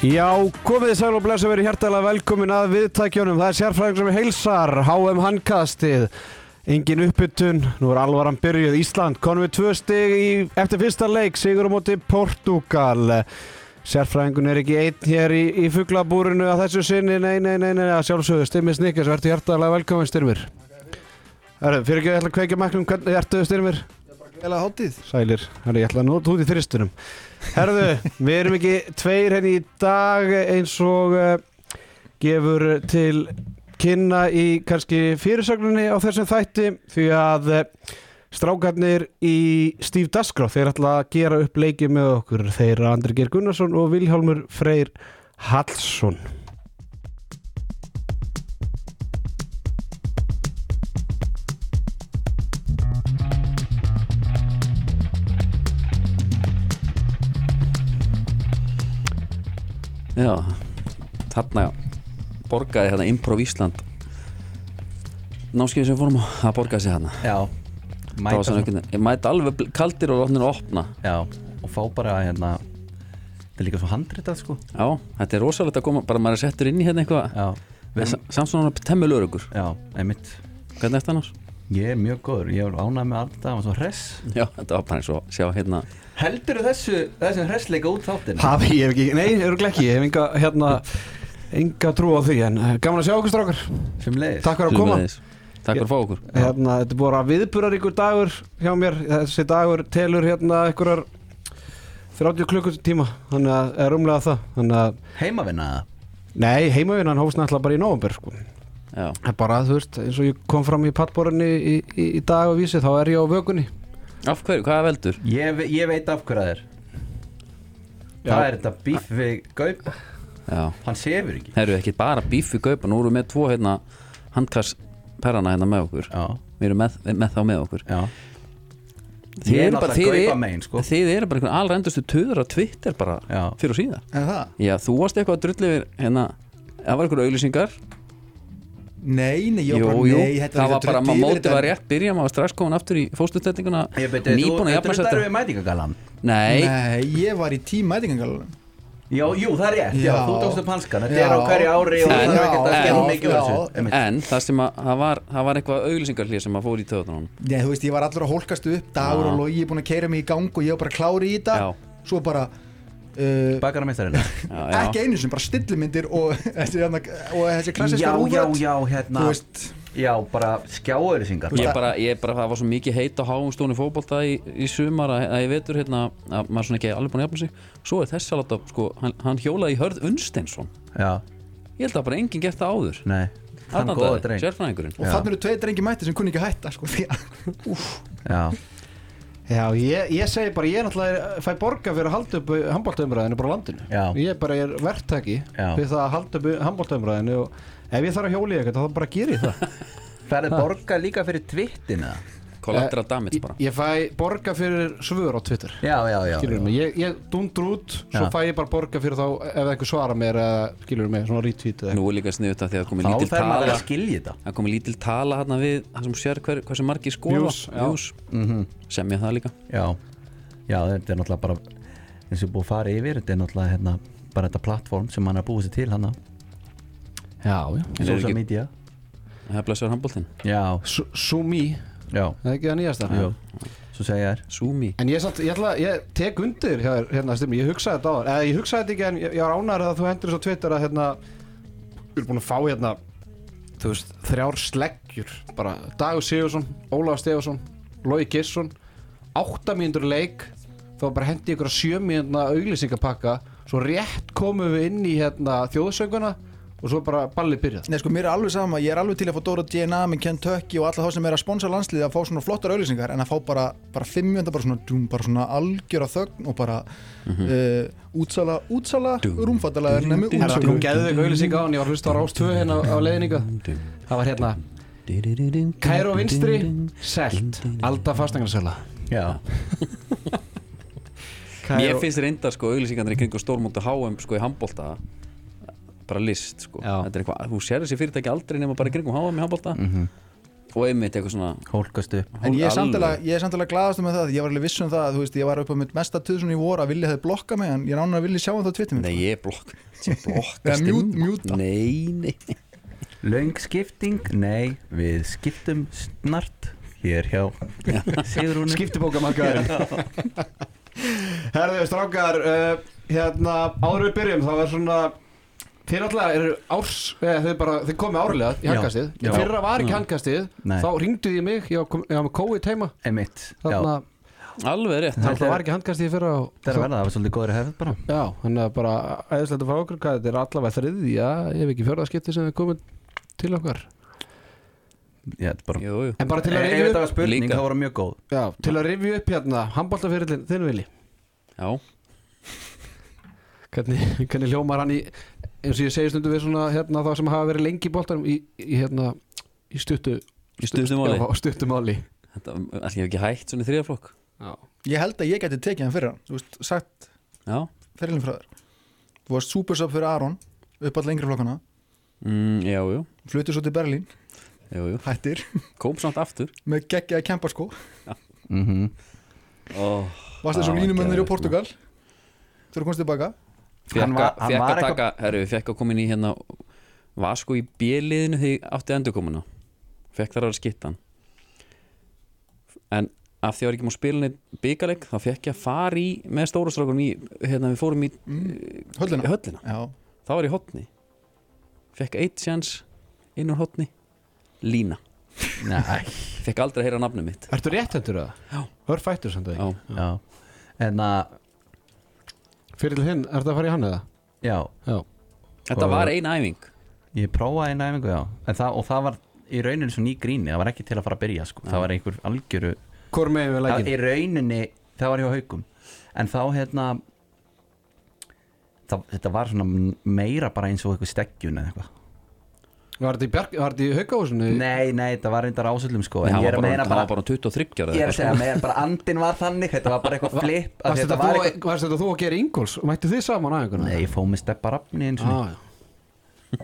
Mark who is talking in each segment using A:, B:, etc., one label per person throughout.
A: Já, komið þið sæl og blessa verið hjartalega velkomin að viðtækjunum. Það er sérfræðingur sem heilsar, HM Handkastið, engin uppbytun, nú er alvaran byrjuð. Ísland konum við tvö stig í, eftir fyrsta leik, sigur á móti Portugal. Sérfræðingun er ekki einn hér í, í fuglabúrinu að þessu sinni, nei, nei, nei, nei, að sjálfsögðu, Styrmir Snikkes, verður hjartalega velkomin, Styrmir. Herru, fyrir ekki að ég ætla að kveikja maklum, hvernig ertu, Styrmir?
B: Gæla hátíð
A: Sælir, herru, ég ætla að nota út í þristunum Herðu, við erum ekki tveir henni í dag eins og uh, gefur til kynna í kannski fyrirsögninni á þessum þætti því að uh, strákarnir í Steve Dasgrá þeir ætla að gera upp leikið með okkur þeir eru Andri Geir Gunnarsson og Vilhjálmur Freyr Hallsson
C: Já, þarna borgaði hérna Improv Ísland námskeið sem við fórum á, það borgaði sig hérna
B: Já
C: Það
B: Mæta
C: var svona einhvern veginn, ég mæti alveg bl- kaldir og látnir að opna
B: Já Og fá bara hérna Það er líka svo handritað sko
C: Já, þetta er rosalegt að koma, bara maður er settur inn í hérna eitthvað
B: Já
C: En
B: við,
C: sa- Samt svona temmul örugur,
B: Já, einmitt
C: hvernig er þetta annars?
B: Ég er mjög góður Ég var ánægð með alltaf Það var svo hress
C: Já, þetta var bara eins og sjá hérna
B: Heldur þessu Þessum hressleika út þáttin
A: Hafi ég hef ekki, nei, eru ekki, ég hef enga hérna, enga trú á því en uh, gaman að sjá okkur strákar,
B: Sem leiðis
A: takk fyrir að koma
C: Sömuleiðis. Takk fyrir að fá okkur
A: hérna, þetta er búin að viðbúrar ykkur dagur hjá mér, þessi dagur telur hérna ykkurar 30 klukkutíma, þannig að er umlega það þannig að,
B: Heimavinna það
A: nei, heimavinnan hófst náttúrulega bara í nóvumber sko,
C: Já,
A: Það er bara þú veist eins og ég kom fram í pattborunni í, í, í dag og vísi, þá er ég á vökunni
C: af hverju, hvað er veldur?
B: ég, ve- ég veit af hverja það er
A: Já.
B: Það er þetta bíf við Gaup
C: Já,
B: Hann sefur ekki
C: það eru ekki bara bíf í gaupa, nú eru með tvo hérna handkarsperrana hérna með okkur
B: Já
C: Við erum með, með þá með okkur
B: Já
C: Þið
B: Ég er
C: eru bara,
B: náttúrulega
C: þið
B: Gaupa
C: er-
B: megin, sko.
C: þið eru bara einhvern allrendustu töður á Twitter bara
B: Já
C: fyrir og síðan
D: En það?
C: Já, þú varst eitthvað að drulli yfir hérna Það var einhverju auðlýsingar
D: Nei, nei, ég var bara, nei, þetta
C: það var
D: þetta
C: bara, maður
D: yfir
C: mótið
D: þetta.
C: var rétt byrja maður var strax komin aftur í fóstutendinguna
B: Ég beti Þú
C: Nýbúin að jafna
B: drullar við
C: sættu
B: mætingagallan
C: Nei,
D: Nei, ég var í tímætingangalunum
B: Já, jú, það er rétt, já,
D: Já.
B: þú tókst upp hanskan Þetta
D: Já.
B: er á hverju ári og
C: En-
B: það er ekkert að
C: en-
B: gera mikið úr
D: já.
B: þessu Einmitt.
C: en það sem að það var, það var eitthvað auðlýsingar hlýð sem að fór í töðunum
D: Nei, þú veist, ég var allur að hólkast upp Dagur
C: Já.
D: og logi, ég er búin að keira mig í gang og ég var bara klári í þetta
C: Já.
D: Svo bara uh,
B: Bakaramestarinn
C: já, já.
D: Ekki einu sem, bara stillimyndir og þessi, hérna- og þessi
B: Já,
D: klassiska
B: já,
D: rúfrödd
B: já, hérna
D: Þú veist,
B: Já, bara skjáauðlýsingar
C: Ég bara, ég bara, það var svo mikið heit á háum stónu fótbolta í, í sumar að, að ég vetur hérna að maður svona ekki alveg búin að jafna sig Svo er þess að láta, sko, hann, hann hjólaði í hörð Unsteinsson
B: Já,
C: Ég held að bara enginn gert það áður
B: nei Hann
C: Þarna
B: góða
C: daði,
B: dreng
C: sérfræðingurinn
D: og
B: Já.
D: þannig eru tveir drengi mætti sem kunni ekki að hætta sko, því að
B: Já,
A: Já, ég, ég segi bara, ég náttúrulega fæ borga fyrir að halda upp handbóltaumræðinu bara á landinu
B: Já.
A: Ég bara er verktaki
B: Já.
A: við það að halda upp handbóltaumræðinu og ef ég þarf að hjóla í eitthvað, þá bara geri ég það
B: ferði borga líka fyrir tvittin eða?
C: Collateral damage
A: Ég-
C: bara
A: Eh, Ég fæ borga fyrir svör á Twitter
B: Já, já, já,
A: skilur
B: já.
A: mig, ég, ég dundur út svo
B: Já.
A: fæ ég bara borga fyrir þá ef eitthvað svara mér eða skilur mig, svona retweet eða eitthvað
C: Nú er líka sniðut að því að það komið
B: Þá
C: lítil
B: þarf maður
C: tala
B: að skilja þetta
C: Það komið lítil tala hérna við það sem sér hver, hversu margir skoða
A: Views, já.
B: Mhm.
C: sem ég það líka
B: Já, já, þetta er náttúrulega bara eins og búið að fara yfir, þetta er náttúrulega hérna, bara þetta plattform sem hann er búið sér til hann
A: já, já
C: En er
B: Social
C: ekki-
B: media
C: Það er blessaður handbóltinn
B: Já,
A: Sumi,
B: já,
A: það er ekki það nýjasta
B: já Svo segja þér
C: Sumi
A: en ég, satt, ég, ætla, ég tek undir hjá þér, hérna styrmi, ég hugsaði þetta á þér eða ég hugsaði þetta ekki en ég, ég var ánæður að þú hendur svo Twitter að hérna við erum búin að fá hérna þú veist, þrjár sleggjur bara Dagur Sigursson, Ólaf Stefarsson Lói Gisson, 8 mínútur leik þá bara hendi ykkur að 7 mínútna auglýsingapakka svo rétt komum við inn í hérna þjóðsönguna og svo bara ballið byrjað
D: Nei, sko, mér er alveg sama, ég er alveg til að fá Dóra DNA með Kentucky og alla þá sem er að sponsa landsliði að fá svona flottar auðlýsingar en að fá bara, bara fimmjönda, bara svona, dúm, bara svona algjöra þögn og bara
C: Mhm.
D: uh, útsala, útsala, rúmfattalega er nefnum
A: Það kom
D: útsölu
A: geðveik auglýsing á hann, ég var hlust á Rástvö hérna á leiðningu það var hérna Kæro vinstri, selt Alda fastangarsöla
B: Já,
C: Mér finnst reyndar sko auglýsingarnir í kringu stórmóntu HM sko í handbólta bara list sko
A: Já.
B: Mhm.
C: Þetta er eitthvað, þú sér þessi fyrirtæki aldrei nema bara í kringum HM í handbólta og einmitt eitthvað svona
B: hólkast upp
D: En ég er
C: Alveg.
D: samtilega, ég er samtilega glaðast um það, ég var alveg viss um það, að, þú veist, ég var upp á mitt mesta tuð svona í voru að Vili hefði blokkað mig, en ég nána að Vili sjá hann þá sko. tvittum
C: Nei, ég blokk ég
D: Eða
C: blokkast
D: mjút-
C: inn.
D: mjúta.
C: Nei, nei
B: Löng skipting, nei, við skiptum snart hér hjá Sigrúnum
A: Skiptibókamarkaðurinn Herðu, strákar uh, Hérna, áður við byrjum þá er svona Þið alltaf eru árs eh, þið, bara, þið komið árlega í
B: Já.
A: handkastið
B: Já.
A: En fyrra var ekki
C: Mm.
A: handkastið
B: Nei.
A: Þá ringduð ég mig, ég var kom- ég var með COVID heima
B: Emitt,
A: Þannig
B: já,
A: að
C: Alveg rétt
B: Þetta
A: það
B: er-
A: var ekki handkastið í fyrra og,
B: það er að verða, það var svolítið góður hefð bara
A: Já, þannig að bara æðislega frá okkur hvað þetta er allavega þriðja ef ekki fjörðaskipti sem við komum til okkar
B: Já, þetta er bara
C: Jú, jú
A: En bara til eh, að
B: Ef
A: rifja
B: þetta
A: upp,
B: var spurning,
C: Líka.
B: þá var það mjög góð
A: já, til að rifja upp hérna handbóltafyrirlin, þinn vili
C: Já,
A: hvernig, hvernig hljómar hann í eins og ég segi stundum við svona hérna, þá sem hafa verið lengi í boltanum í, í, hérna, í stuttu
C: í stuttum áli
A: Já, stuttumáli
C: Þetta ætlum ég hef ekki hægt svona í þriðaflokk
D: Ég held að ég geti tekið hann fyrir hann, þú veist, sagt
C: Já
D: fyrirlin frá þér. Þú varst supersub fyrir Aron, upp all lengri flokkana,
C: mm, Já, jú,
D: flutur svo til Berlín,
C: jú, jú
D: hættir,
C: Kom samt aftur
D: með geggjaði kempa sko,
B: Mhm.
C: oh,
D: varst þessu
C: Já,
D: línumennir í
C: geðveikt,
D: Portugal, þegar þú komst tilbaka,
C: Fekk
B: Hann var-
C: að
B: hann
C: fekk
B: var
C: að taka Herru, fekk að koma inn í hérna Var sko í bjöliðinu því átti endurkomuna Fekk þar að vera skittan En af því að ég var ekki múið að spila neitt byggaleg þá fekk ég að fara í með stóra strákunum í hérna við fórum í
D: Mm. höllina.
C: höllina
D: Eh, Já,
C: þá var ég hotni fekk eitt sjans inn úr hotni Lína,
B: Nei,
C: fekk aldrei að heyra nafnum mitt
A: Ertu réttendur það?
C: Já.
A: Hörfættur samt að
C: Já,
A: ekki
B: já En að,
A: Fyrir til hinn, ertu að fara í hann eða?
B: já,
A: Já
C: þetta var ein æfing
B: ég prófaði einu æfingu, já En það, og það var í rauninni svo ný gríni Það var ekki til að fara að byrja, sko Það var einhver algjöru
A: Hvor megin við
B: það,
A: lækin?
B: Í rauninni, það var hjá haukum En þá, hérna það, Þetta var svona meira bara eins og eitthvað steggjun eða eitthvað
A: Var þetta í, bjarg, var þetta í haukahúsinu?
B: Nei, nei, þetta var reyndar ásöldum, sko En
C: Það
B: ég
C: var
B: er að
C: bara,
B: meina
C: bara,
B: bara
C: bara 23 ára
B: Ég er að segja, meira bara andin var þannig Þetta var bara eitthvað flip af
A: Varst
B: því þetta
A: þetta,
B: var
A: þú,
B: eitthvað-
A: varst þetta þú að gera Ingolfs? Mættu þið saman að einhvern
B: Nei, ég fóð með steppa rafni eins og
A: ah,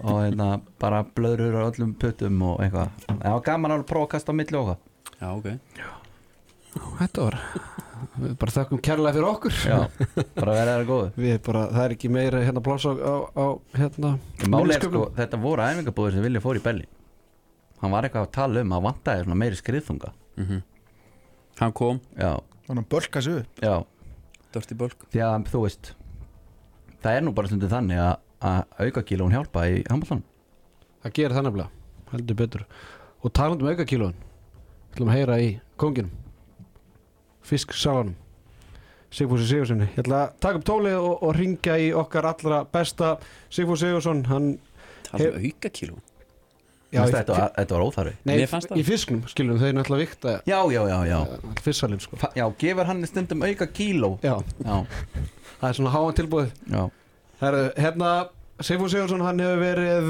B: og hérna bara blöðrur á öllum puttum og eitthvað það var gaman að prófa að kasta á milli og eitthvað
C: Já, ok
A: Þetta var Við bara þakkum kærlega fyrir okkur
B: já, bara verið það góðu
A: Við bara, það er ekki meira hérna pláss á, á, á hérna
B: Máli er
A: minnisköpum.
B: sko, þetta voru æfingabúður sem vilja fór í belli hann var eitthvað að tala um að vantaði svona meiri skriðþunga
C: Mhm. Hann kom,
B: já,
D: þannig að bölka sig upp.
B: já,
C: Dirty Bulk
B: því að þú veist það er nú bara stundum þannig að, að aukakílón hjálpa í handbóltan
A: Það gerir það nefnilega, heldur betur Og talandum aukakílóin Við ætlum að heyra í konginum Fisksalanum Sigfúsi Sigurssoni Ég ætla að taka upp tólið og, og ringja í okkar allra besta Sigfúsi Sigursson Hann,
C: Það er auka kíló
A: Já, í-
B: þetta, var- þetta var óþarfi
A: nei,
C: Mér fannst það.
A: í fisknum skilum þeir náttúrulega vikta
B: já, já, já, já
A: all fissalinn sko
B: Fa- já, gefur hann stundum auka kíló
A: Já,
B: já,
A: það er svona háan tilbúið
B: já,
A: Herðu, hérna Sigfús Sigursson hann hefur verið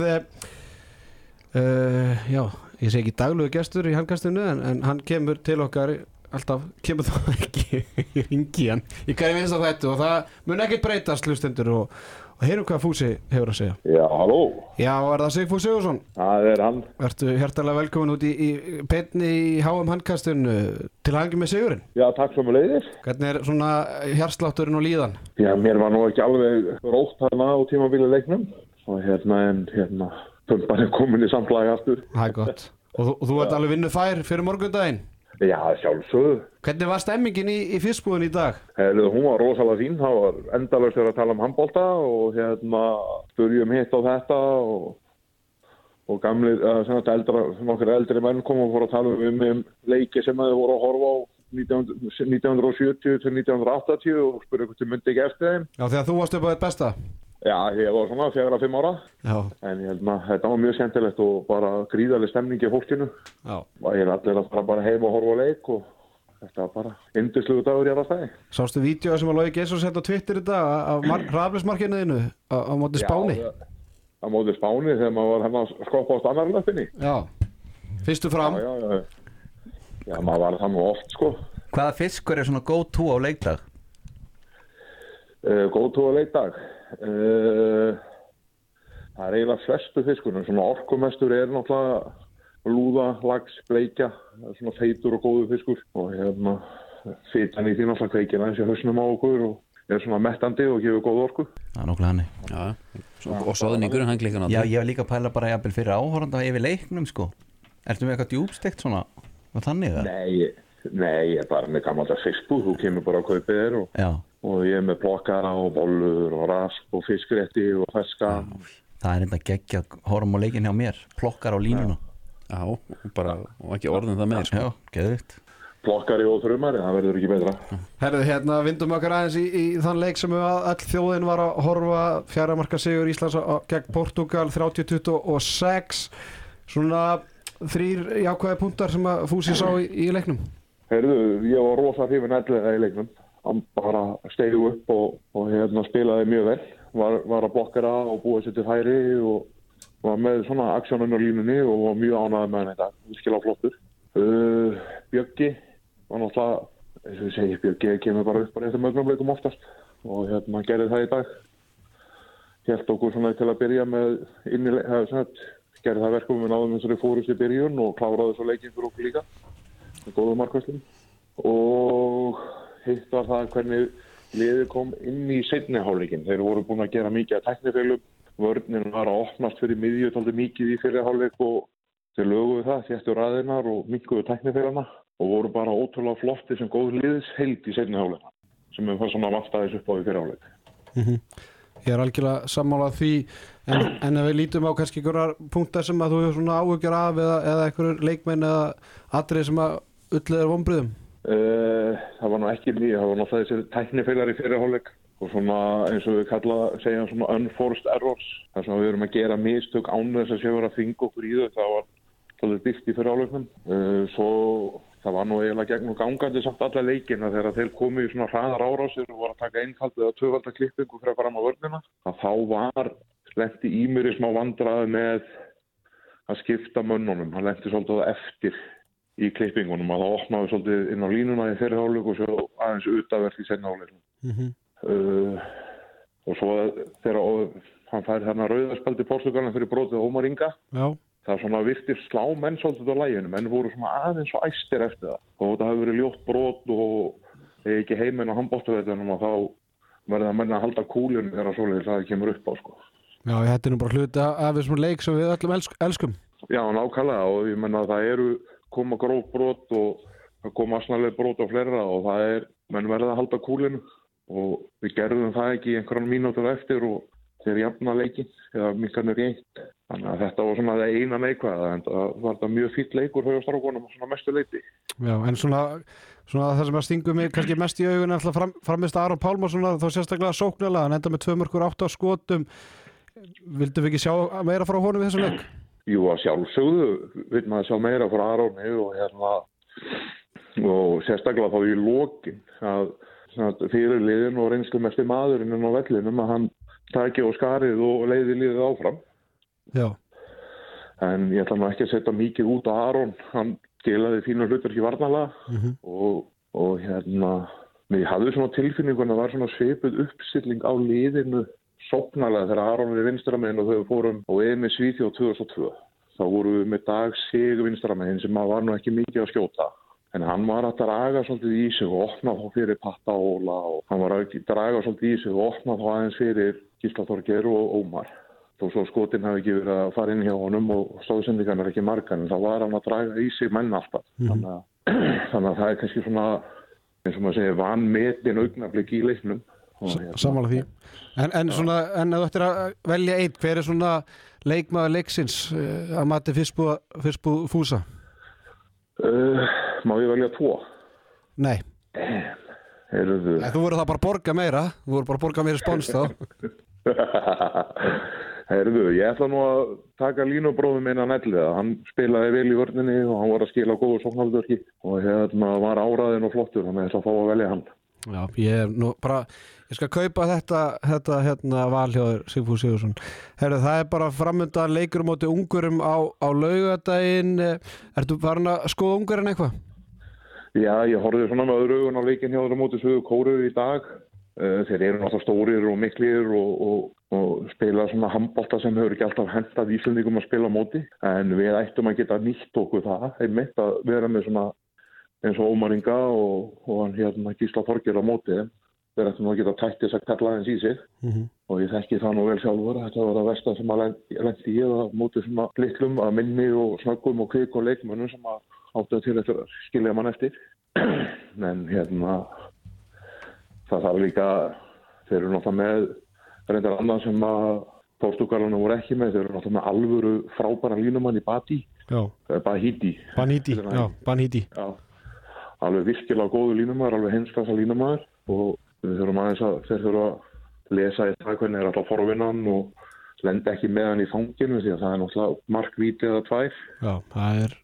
A: uh, já, ég segi ekki dagluðu gestur í handkastinu en, en hann kemur til okkar alltaf, kemur þá ekki í ringi hann í hverju minnst á þetta og það mun ekki breytast hlustendur og, og heyrum hvað Fúsi hefur að segja
E: Já, halló,
A: Já, er það Sigfús Sigursson?
E: það er hann.
A: Ertu hjertalega velkomin út í, í beinni í HM handkastinu til hangi með Sigurinn
E: Já, takk svo með leiðir.
A: Hvernig er svona hjarslátturinn og líðan?
E: Já, mér var nú ekki alveg rótt þarna á tímabíli leiknum. Og hérna, en hérna, pumpan er komin í samflagi aftur.
A: Það er gott Og þú, og þú ert alveg vinnu fær fyrir morgundaginn
E: Já, sjálfsögðu.
A: Hvernig var stemmingin í, í fyrstbúðin í dag?
E: Hefðu, hún var rosalega fín, það var endalaust verið að tala um handbólta og hérna, spurjum hitt á þetta og, og gamlir, eh, sem þetta eldra, nokkur eldri menn kom og voru að tala um, um leiki sem þau voru að horfa á 1900 1970 til 1980 og spurðu hvort þau myndi ekki eftir þeim.
A: Já, þegar þú varst upp á þitt besta
E: Já, ég var svona fjagra fimm ára.
A: Já,
E: En ég held maður, þetta var mjög skemmtilegt og bara gríðarlega stemning í fólkinu.
A: já
E: Og Ég er allir að fara bara heim og horfa á leik og þetta var bara yndislegu dagur ég er að stæði.
A: Sástu vídeo sem að Lói Geisur sett á Twitter í dag af raflismarkinu þínu á, á móti Spáni
E: Já, það- það móti spáni þegar maður var hérna að skoppa á stannarlöfinni.
A: Já, fyrstu
E: Já,
A: fram
E: já, já. Já, maður var það nú oft, sko.
B: hvaða fiskur er svona go to á leikdag
E: Uh, góð Eh, tóa leikdag. Uh, það er eiginlega flestu fiskunum. Svona orkumestur er náttúrulega lúð lúða, lags, bleikja það er svona feitur og góðu fiskur og hérna fitan í því náttúrulega kveikina eins og hausnum á okkur og er svona mettandi og gefur góð orku
B: það er nokkulega hannig
C: Já, svo, og sáðningurinn hann klikkar
B: Já,
C: náttúrulega
B: ég var líka að pæla bara jafnvel fyrir áhoranda yfir leiknum sko Ertu með eitthvað djúbstekt svona og þannig það?
E: Nei, ég- nei, ég er bara með gammaldags fiskbúð, þú kemur bara að kaupa þér og,
B: Já,
E: og ég er með blokkara og bollur og rasp og fiskrétti og ferska.
B: það er enda geggja horfum á leikin hjá mér, plokkar á línuna
C: Já, og bara, og ekki orðin það meir sko.
B: Já, geðvitt
E: Blokkari og þrumari, það verður ekki betra.
A: Herðu, hérna vindum okkar aðeins í, í þann leik sem að öll þjóðin var að horfa fjaramarka sigur Íslands á- á- gegn Portugal 30-26 svona þrýr jákvæði punktar sem að Fúsi sá í, í leiknum
E: Herðu, ég var rosa hrifin ellega í leiknum. Hann bara stegu upp og, og hérna, spilaði mjög vel. Var, var að blokkara og búa sér til hæri og var með svona aksjónun á línunni og var mjög ánægð með hann í dag. Virkilega flottur. Uh, Bjöggi var náttúrulega, eins og ég segi, Bjöggi kemur bara upp bara eftir mögnumleikum oftast og hérna hann gerði það í dag. Helt okkur svona til að byrja með inn í leiknum, gerði það verkum við náðum þessari fórust í byrjun og kláraði svo leikinn fyrir okkur líka með góðum markvæslum og hitt var það hvernig liðið kom inn í setni hálfleikin. Þeir voru búin að gera mikið að teknifeilum, vörnin var að opnast fyrir miðju, tóldi mikið í fyrir hálfleik og þeir löguðu það, þjættu ræðinar og mikkuðu teknifeilana og voru bara ótrúlega flotti sem góð liðs heild í setni hálfleikina sem við fannst svona vantaðis upp á í fyrir hálfleik.
A: Ég er algjörlega sammálað því en, en ef við lítum á kannski einhverjar punktar sem að þú hefur svona áhugjur af eða, eða einhverjur leikmenn eða atrið sem að ulleður vonbriðum
E: Uh, það var nú ekki nýja, það var náttúrulega þessi tæknifeilar í fyrirháleik og svona eins og við kalla, segja svona unforced errors, þar sem við erum að gera mistök án þess að séu að finga okkur í þau, það var svolítið byggt í fyrirháleiknum. Uh, svo það var nú eiginlega gegn og gangandi samt alla leikina þegar þeir komu í svona hraðar árásir og voru að taka einfald eða tvöfaldar klippingu fyrir að fram á vörnina, að þá var lendi í mér í smá vandraði með að skipta mönnunum, hann lendi svolítið á eftir í klippingunum að það opnaði svolítið inn á línuna í þeirri hálfleik og svo aðeins utavert í senna hálfleikum. uh, og svo þegar og, hann fær þarna rauðarspaldi Portugalin fyrir brotið Ómar Inga
A: Já,
E: það svona virtir slá menn svolítið á læginu menn voru svona aðeins og æstir eftir það og þetta hefur verið ljótt brot og eða ekki heiminn á handbóttavellinum og þá verða menn að halda kúlinu þegar svoleiðis að það kemur upp á sko.
A: já þetta er nú bara hluti af, af þessum leik sem við öllum elsk, elskum
E: Já, nákvæmlega og ég menna að það eru koma gróf brot og það koma asnaleg brot og fleira og það er, menn verða að halda kúlinu og við gerðum það ekki í einhverjum mínútur eftir og þeir jafna leikin eða mikanur reynt. Þannig að þetta var svona það eina neikvæða en það var þetta mjög fýll leikur höfðu strákunum og svona mestu leiti.
A: Já, en svona, svona það sem að stingu mig kannski mest í augun er alltaf fram, framist Aron Pálmarsson þá sérstaklega sóknarlega, hann enda með tvö mörgur átt á skotum Vildum við ekki sjá meira frá honum í þessum leik?
E: Jú að sjálfsögðu, vil maður sjá meira frá Aróni og hérna og sérstaklega þá í lokin að svona, fyrir liðin og reynslu mest í maðurinn en á vellinum að hann taki og skarið og leiði liðið áfram
A: Já,
E: en ég ætla nú ekki að setja mikið út á Arón hann gelaði fínu hlutur ekki varnalega og, og hérna menn ég hafði svona tilfinningun að það var svona sveipuð uppstilling á liðinu sopnalega þegar Arón við vinstramegin og þau fórum og eða með Svíþjóð 2002 þá voru við með dag sig vinstramegin sem að var nú ekki mikið að skjóta en hann var að draga svolítið í sig og opna þá fyrir Patta Óla og hann var að draga svolítið í sig og opna þá aðeins fyrir Gísla Þorger og Ómar þó svo skotin hafi ekki verið að fara inn hjá honum og stóðsendingarnar ekki margar en þá var hann að draga í sig menn alltaf þannig, að, þannig að það er kannski svona eins og maður segir vanmetin augnablik í leiknum Og hérna,
A: sammála því En, en, svona, en að þú ættir að velja einn hver er svona leikmaður leiksins eh, að mati fyrstbúð, fyrstbúð fúsa?
E: uh, Má ég velja tvo?
A: Nei,
E: Heyrðu,
A: Nei, þú voru það bara að borga meira þú voru bara að borga meira spons þá
E: Heyrðu, ég ætla nú að taka línubróðum minna nælliða. Hann spilaði vel í vörninni og hann var að skila góðu sóknaldörki og hérna var áraðin og flottur þannig að ég ætla að fá að velja hann.
A: Já, ég er nú bara, ég skal kaupa þetta, þetta hérna valhjóður Sigfúr Sigursson. Herru, það er bara framönda leikur móti ungurum á, á laugadaginn. Eh, Ertu farin að skoða ungurinn eitthvað?
E: Já, ég horfði svona með öðru augun á leikin hjá þeirra móti Suðu Kóru í dag. Eh, Þeir eru náttúrulega stórir og miklir og, og og spila svona handbolta sem hefur ekki alltaf hendað Íslandingum að spila á móti en við ættum að geta nýtt okkur það einmitt að vera með svona eins og Ómaringa og, og hann hérna Gísla Þorgir á móti þeim. við ættum að geta tætt þess að kalla aðeins í sig
A: Mhm.
E: og ég þekki það nú vel sjálfur að þetta var að versta sem að lendi ég að móti svona litlum að minni og snöggum og kvik og leikmönnum sem að áttu til eftir að skilja mann eftir en hérna það þarf líka þeir eru náttúrulega með reyndar annað sem að Portugalunum voru ekki með, þeir eru náttúrulega með alvöru frábæra línumann í Bati eh,
A: Já,
E: Bahíti,
A: Banhíti,
E: Þetta er
A: já,
E: hann.
A: Banhíti
E: já alveg virkilega góðu línumann, alveg henskasa línumann og við þurfum aðeins að þeir þurfum að lesa í það hvernig er alltaf forvinnan og lenda ekki með hann í fanginu því að það er náttúrulega markvíti eða tvær
A: Já, það er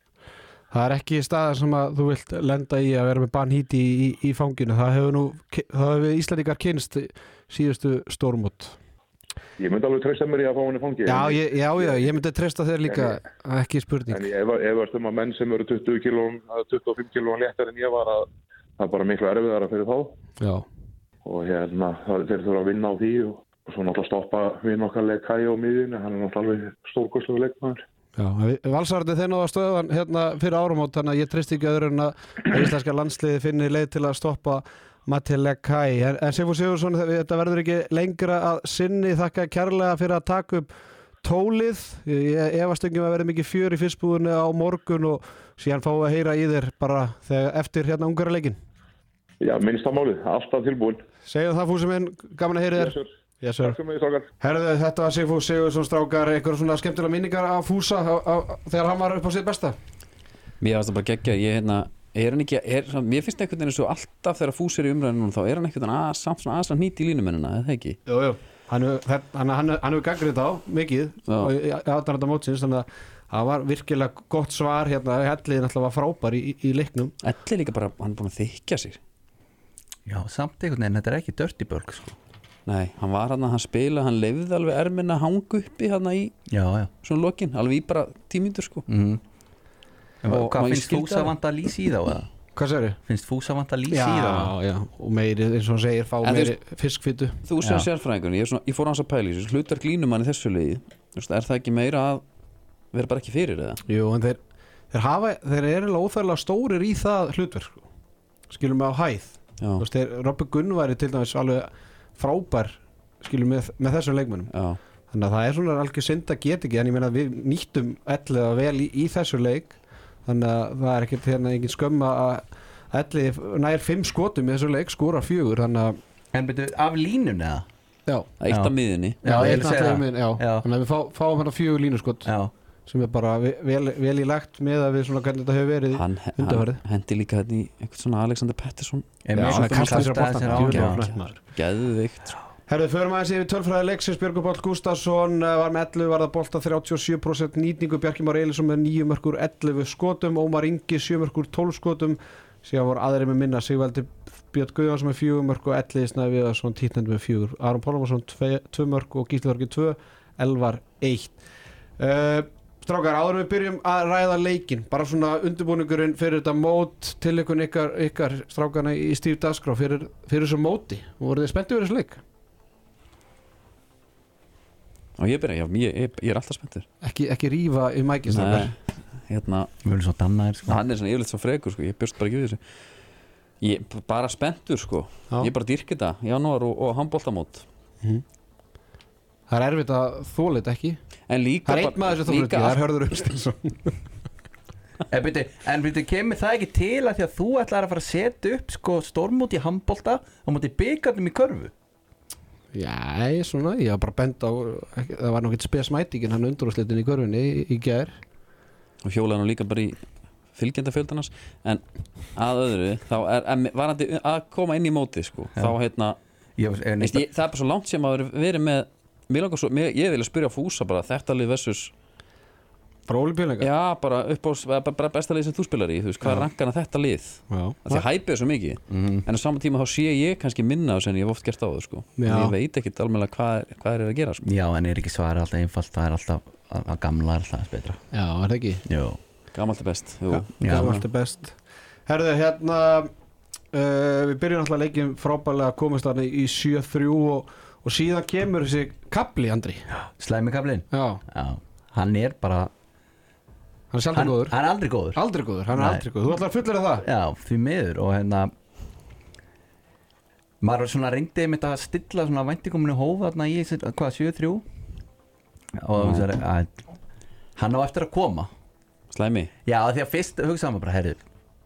A: Það er ekki staðar sem að þú vilt lenda í að vera með Banhíti í, í, í fanginu Það hefur nú, það hefur við Íslandingar kynst síðustu stórmót
E: ég myndi alveg treysta mér í að fá hann í fangi
A: Já, ég, já, já, ég myndi treysta þér líka ekki spurning
E: En ég ef- efast um að menn sem eru 20 kílón, 25 kílón léttar en ég var að það er bara miklu erfiðara fyrir þá
A: Já,
E: og hérna það- þeir þurfa að vinna á því og, og svo náttúrulega stoppa við nokkar leik kæja á miðinu, hann er náttúrulega alveg stórkoslega leikmaður.
A: já, valsarði þeir náðu að stöðan hérna fyrir árumót þannig að ég treysti ekki öðru en að íslenska landsliði finni leið til að stoppa Matti Lekai en, en Sigfúr Sigurðsson, þe- þetta verður ekki lengra að sinni þakka kærlega fyrir að taka upp tólið ég efast ekki um að verði mikið fjör í fyrstbúðinu á morgun og síðan fá að heyra í þér bara þegar eftir hérna ungara leikin
E: Já, minnsta málið, alltaf tilbúin.
A: segjum það fúsi minn, gaman að heyra í þér
E: Yes, sir.
A: yes, sir.
E: Takk fyrir mig, strákar.
A: Herðu, þetta var Sigfús Sigurðsson strákar, einhver svona skemmtilega minningar af Fúsa á, á, þegar hann var upp á sitt besta?
C: Mér finnst það bara geggja, ég hérna er hann ekki, er, svona- mér finnst einhvern veginn eins og alltaf þegar fús er í umræðinu núna, þá er hann einhvern veginn að, samt svona aðsand nýtt í línumennina, eða ekki
A: Jú, jú. Hann hefur- þe- hann- hann- hann hefur gangrið á mikið
C: Já.
A: og í aðdæranda mótsins, þannig að það var virkilega gott svar hérna, helliðin alltaf var frábær í, í, í leiknum.
C: Elli er líka bara, hann er búin að þykja sér
B: Já, samt einhvern veginn, þetta er ekki dirty bölg sko.
C: Nei, hann var hann að hann spila, hann lefði alveg erminna hang uppi hann í
B: Já, já
C: svona lokin, alveg í bara tímyndur sko
B: mm. En
C: Og- og
B: Hvað
C: ég
B: finnst
C: skildi
B: Fúsa
C: það.
B: vant að lýsa í þá? eða?
A: Hvað sér þið?
B: Finnst Fúsa vant að lýsa í þá?
A: Já, já, og meiri, eins og hann segir, fá
C: En þú
A: meiri fiskfýtu.
C: Þú sem
B: Já.
C: sérfræðingun, ég, er svona, ég fór á hans að pæla í þessu hlutar glínum hann í þessu liði, Þú veist, er það ekki meira að vera bara ekki fyrir eða?
A: Jú, en þeir, þeir hafa, þeir eru eiginlega óþærlega stórir í það hlutverk, sko. skilum við á hæð.
C: Já,
A: Þú veist, þeir, Robby Gunn væri til dæmis alveg frábær, skilum við, með þessum leikmönnum.
C: já,
A: þannig að það er svona algjör synd að geta ekki en ég meina að við nýttum elliða vel í, í þessu leik þannig að það er ekkert hérna engin skömm að elliði nær fimm skotum í þessu leik skora fjögur þannig að
B: En byrju, af línunni eða?
A: já,
C: eitt
B: Já.
C: af miðinni
B: Já, ég
A: um einn
B: vil segja
A: allir
B: það.
A: minn, já.
B: Já.
A: þannig að við fá, fáum hérna fjögur línuskot
B: Já,
A: sem er bara ve- vel, vel í lagt með að við svona hvernig þetta hefur verið
C: hann, hann
A: Undanfarið.
C: hendi líka hérna í einhvern svona Alexander Pettersson
B: En
A: Já,
B: mér
A: hann
B: finnst
A: kastaði sér á
B: Gústa
A: boltann.
B: þessi
A: Djöfull
B: ráðgjafi.
A: var hann flott maður.
C: geðveikt sko.
A: Herðu, förum aðeins yfir tölfræði leiksins Björgur Páll Gustafsson eh, var með 11 varða bolta 37% nýtningu Bjarki Már Eilisson með 9 mörgur 11 skotum Ómar Ingi 7 mörgur 12 skotum síðan voru aðri með minna Sigvaldi Björn Guðjónsson með 4 mörg og 11 Snæði Viðarsson títnandi með 4 Aron Pálmarsson 2 mörg og Gísli Þorgi 2 Elvar 1 uh, Strákar, áður en við byrjum að ræða leikin bara svona undirbúningurinn fyrir þetta mót til ykkur ykkar, ykkar strákana í Stíf Dasgrá fyrir, fyrir þessu móti voru þið spenntið fyrir þessu leik?
C: og ég byrja, já, ég, ég, ég er alltaf spenntur
A: ekki, ekki rífa í mækist
C: Nei, hérna,
B: Við viljum svo dannaðir sko
C: hann er svona yfirleitt svo frekur sko. ég bjóst bara ekki við þessu ég b- bara spenntur sko
A: Já.
C: ég bara dyrki þetta, janúar og, og handbóltamót
A: það er erfitt að þóla þetta ekki
C: en líka
A: það er einn
C: bara-
A: maður sem þóla
C: líka
A: þetta það er
C: allt-
A: hörður Umstinsson
B: En byrju, Eh, en byrju, kemur það ekki til að því að þú ætlar að fara að setja upp sko stormóti í handbolta og móti byggarnum í körfu
A: já, ég svona, ég var bara bent á ekki, það var nokkið spesmætingin hann undurúslitin í körfunni í, í gær
C: og hjólaði nú líka bara í fylgjenda fjöldanars en að öðru þá er, en varandi að koma inn í móti sko,
B: Já.
C: þá hérna
B: Ég, ég,
C: veist, ég, það er bara svo langt sem að vera- verið með mér langar svo, mér, ég vilja spyrja Fúsa bara þetta lið versus,
A: frá olímpíuleika
C: já bara upp á bara- bara besta lið sem þú spilar í, þú veist, hvað er rankana þetta lið að því að hæpið er svo mikið
B: Mhm.
C: en á saman tíma þá sé ég kannski minna á þessu en ég hef oft gert á það sko
A: Já.
C: En ég veit ekkit alveg hvað, er- hvað er að gera sko.
B: Já, en er ekki svara alltaf einfalt það er alltaf að, að gamla er alltaf betra
A: já, er það ekki
B: Jó
C: gamalt er best jú.
B: Já.
A: það var alltaf best herðu, hérna uh, við byrjum alltaf leikin frábælega komist hann í 7-3 og, og síðan kemur þessi kapli Andri
B: Slæmi kaflinn
A: Já,
B: Já, hann er bara
A: hann er sjaldan
B: Hann,
A: góður
B: hann er aldrei góður
A: Aldrei góður, hann er
B: Nei.
A: aldrei góður Þú ætlar að fullera það?
B: Já, því miður og hérna maður svona reyndi einmitt að stilla svona væntingumni hófa þarna í þessi- hvað, 7-3 og þú sagði að hann á eftir að koma
C: Slæmi
B: já, af því að fyrst hugsaði maður bara, herri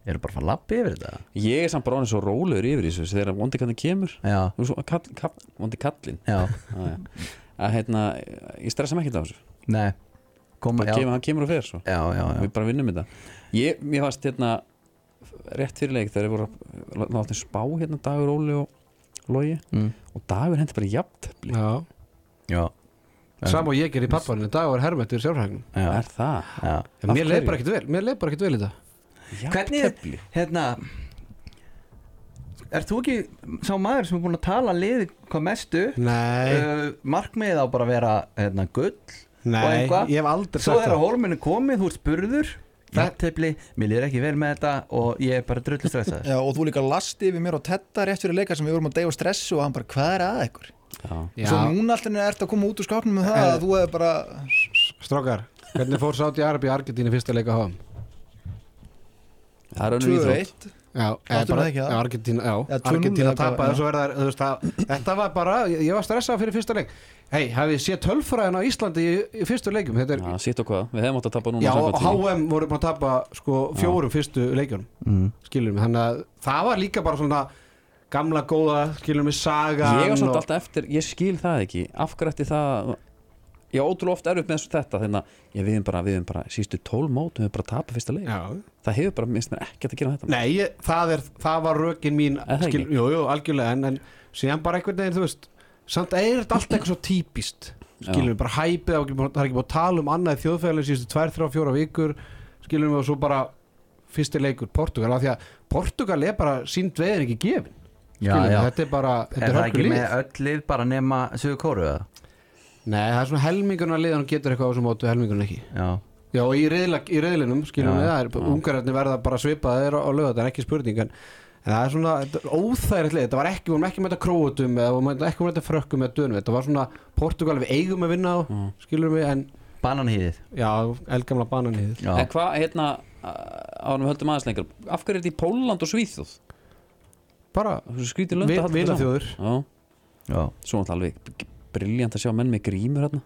B: eru bara að fara að lappi yfir þetta
C: Ég er samt bara orðinn svo rólegur yfir þessu þessu þegar vondi kallin kemur
B: já,
C: Þú svo- kall, kall, vondi kallin
B: já,
C: að, að hérna, ég stressa mig ekkert á þessu
B: nei koma,
C: Bara
B: já,
C: kemur, hann kemur og fer svo
B: já, já, já,
C: við bara vinnum þetta ég, mér fannst hérna rétt fyrir leik þegar við vorum að láta spá hérna Dagur Óli og Logi
B: Mm.
C: og Dagur hendi bara jafntefli
A: Já
B: já,
A: Sam og ég gerir pappanum, dag var hermættur sjálfhægnum
B: já,
C: er það?
B: já.
A: Mér leið bara ekkert vel, mér leið bara ekkert vel í þetta
B: hvernig,
C: jafntefli?
B: hérna er þú ekki sá maður sem er búin að tala liði hvað mestu
A: Nei,
B: uh, markmiðið á bara að vera hérna, gull og
A: nei,
B: eitthvað.
A: ég hef aldrei
B: svo
A: sagt
B: er að
A: það
B: hólminu komið, þú ert spurður jafntefli, mér líður ekki vel með þetta og ég er bara drullu stressaður
D: Já, og þú líka lasti yfir mér og tetta rétt fyrir leika sem við vorum að deyfa stressu og hann bara, hvað er að ykkur?
C: Já.
A: Já,
D: Svo núna alltaf ertu að koma út úr skápnum með það
A: En-
D: að þú hefur bara
A: strókar, hvernig fór sátt í Arabi Argentínu í fyrsta leika háum?
C: það er önnur íþrótt
D: 2-1
A: Já, eða
D: Áttum
A: bara,
D: við ekki það?
A: já, Argentína, já,
D: Já, tvö núll
A: Argentína
D: eða hvað,
A: tapaði
D: já.
A: svo er það, þú veist það, þetta var bara, ég, ég var stressað fyrir fyrsta leik Hei, hafið þið séð tölfræðin á Íslandi í, í fyrstu leikum, þetta er,
C: Já, sitt og hvað, við hefum átt að tapa núna
A: já,
C: á
A: og
C: samkvæmt því.
A: HM voru búin að tapa sko fjórum fyrstu leikjunum, mm. skiljum við, þannig að það var líka bara svona gamla góða, skiljum við, saga
C: Ég var samt alltaf eftir, ég skil það ekki af hverju ætti það ég á ótrúlega oft erfitt með þessu þetta hérna. þannig að ég viðum bara, viðum bara, sístu tól mót við höfum bara tapað fyrsta leik,
A: Já,
C: það hefur bara minnst mér ekkert að gera þetta
A: Nei, ég, það, er, það var rökin mín
C: Er það ekki?
A: Jú, jú, algjörlega en, en síðan bara einhvern veginn, þú veist Samt er þetta alltaf eitthvað svo típist Skilum við bara hæpið, á ekki búin- það er ekki búin að tala um annað þjóðfæðileg síðustu tvær, þrjá, fjóra vikur Skilum við og svo bara fyrsti leikur Portugal, af því að Portugal er bara sínd veðin ekki gefin Skilum við, þetta er bara, þetta
B: Er
A: er
B: það
A: hörku
B: ekki
A: lið
B: með öll lið bara nema sögur kóru eða?
A: Nei, það er svona helminguna lið hann getur eitthvað á þessum mótu, helminguna ekki
B: Já,
A: Já, og í, riðla, í riðlinum, skiljum
C: Já,
A: við, það er ungararnir verða bara svipaðir á, á lögðan, ekki spurning en, en það er svona þetta er óþægilegt lið, þetta var ekki, við vorum ekki með þetta króutum eða við vorum ekki með þetta frökkum eða dönum þetta var svona, Portugal við eigum að vinna á mm. skiljum við, en
B: bananhýðið
A: já, elgamla bananhýð
C: En hvað, hérna, ánum við höldum aðeins lengur Af hverju er þetta í Póland og Svíþjóð?
A: bara,
C: Svo skrítið lönd
A: Vi-
C: að halda þetta
A: vinaþjóður.
C: saman.
B: já,
C: Já, svo náttúrulega alveg briljant að sjá menn með grímur hérna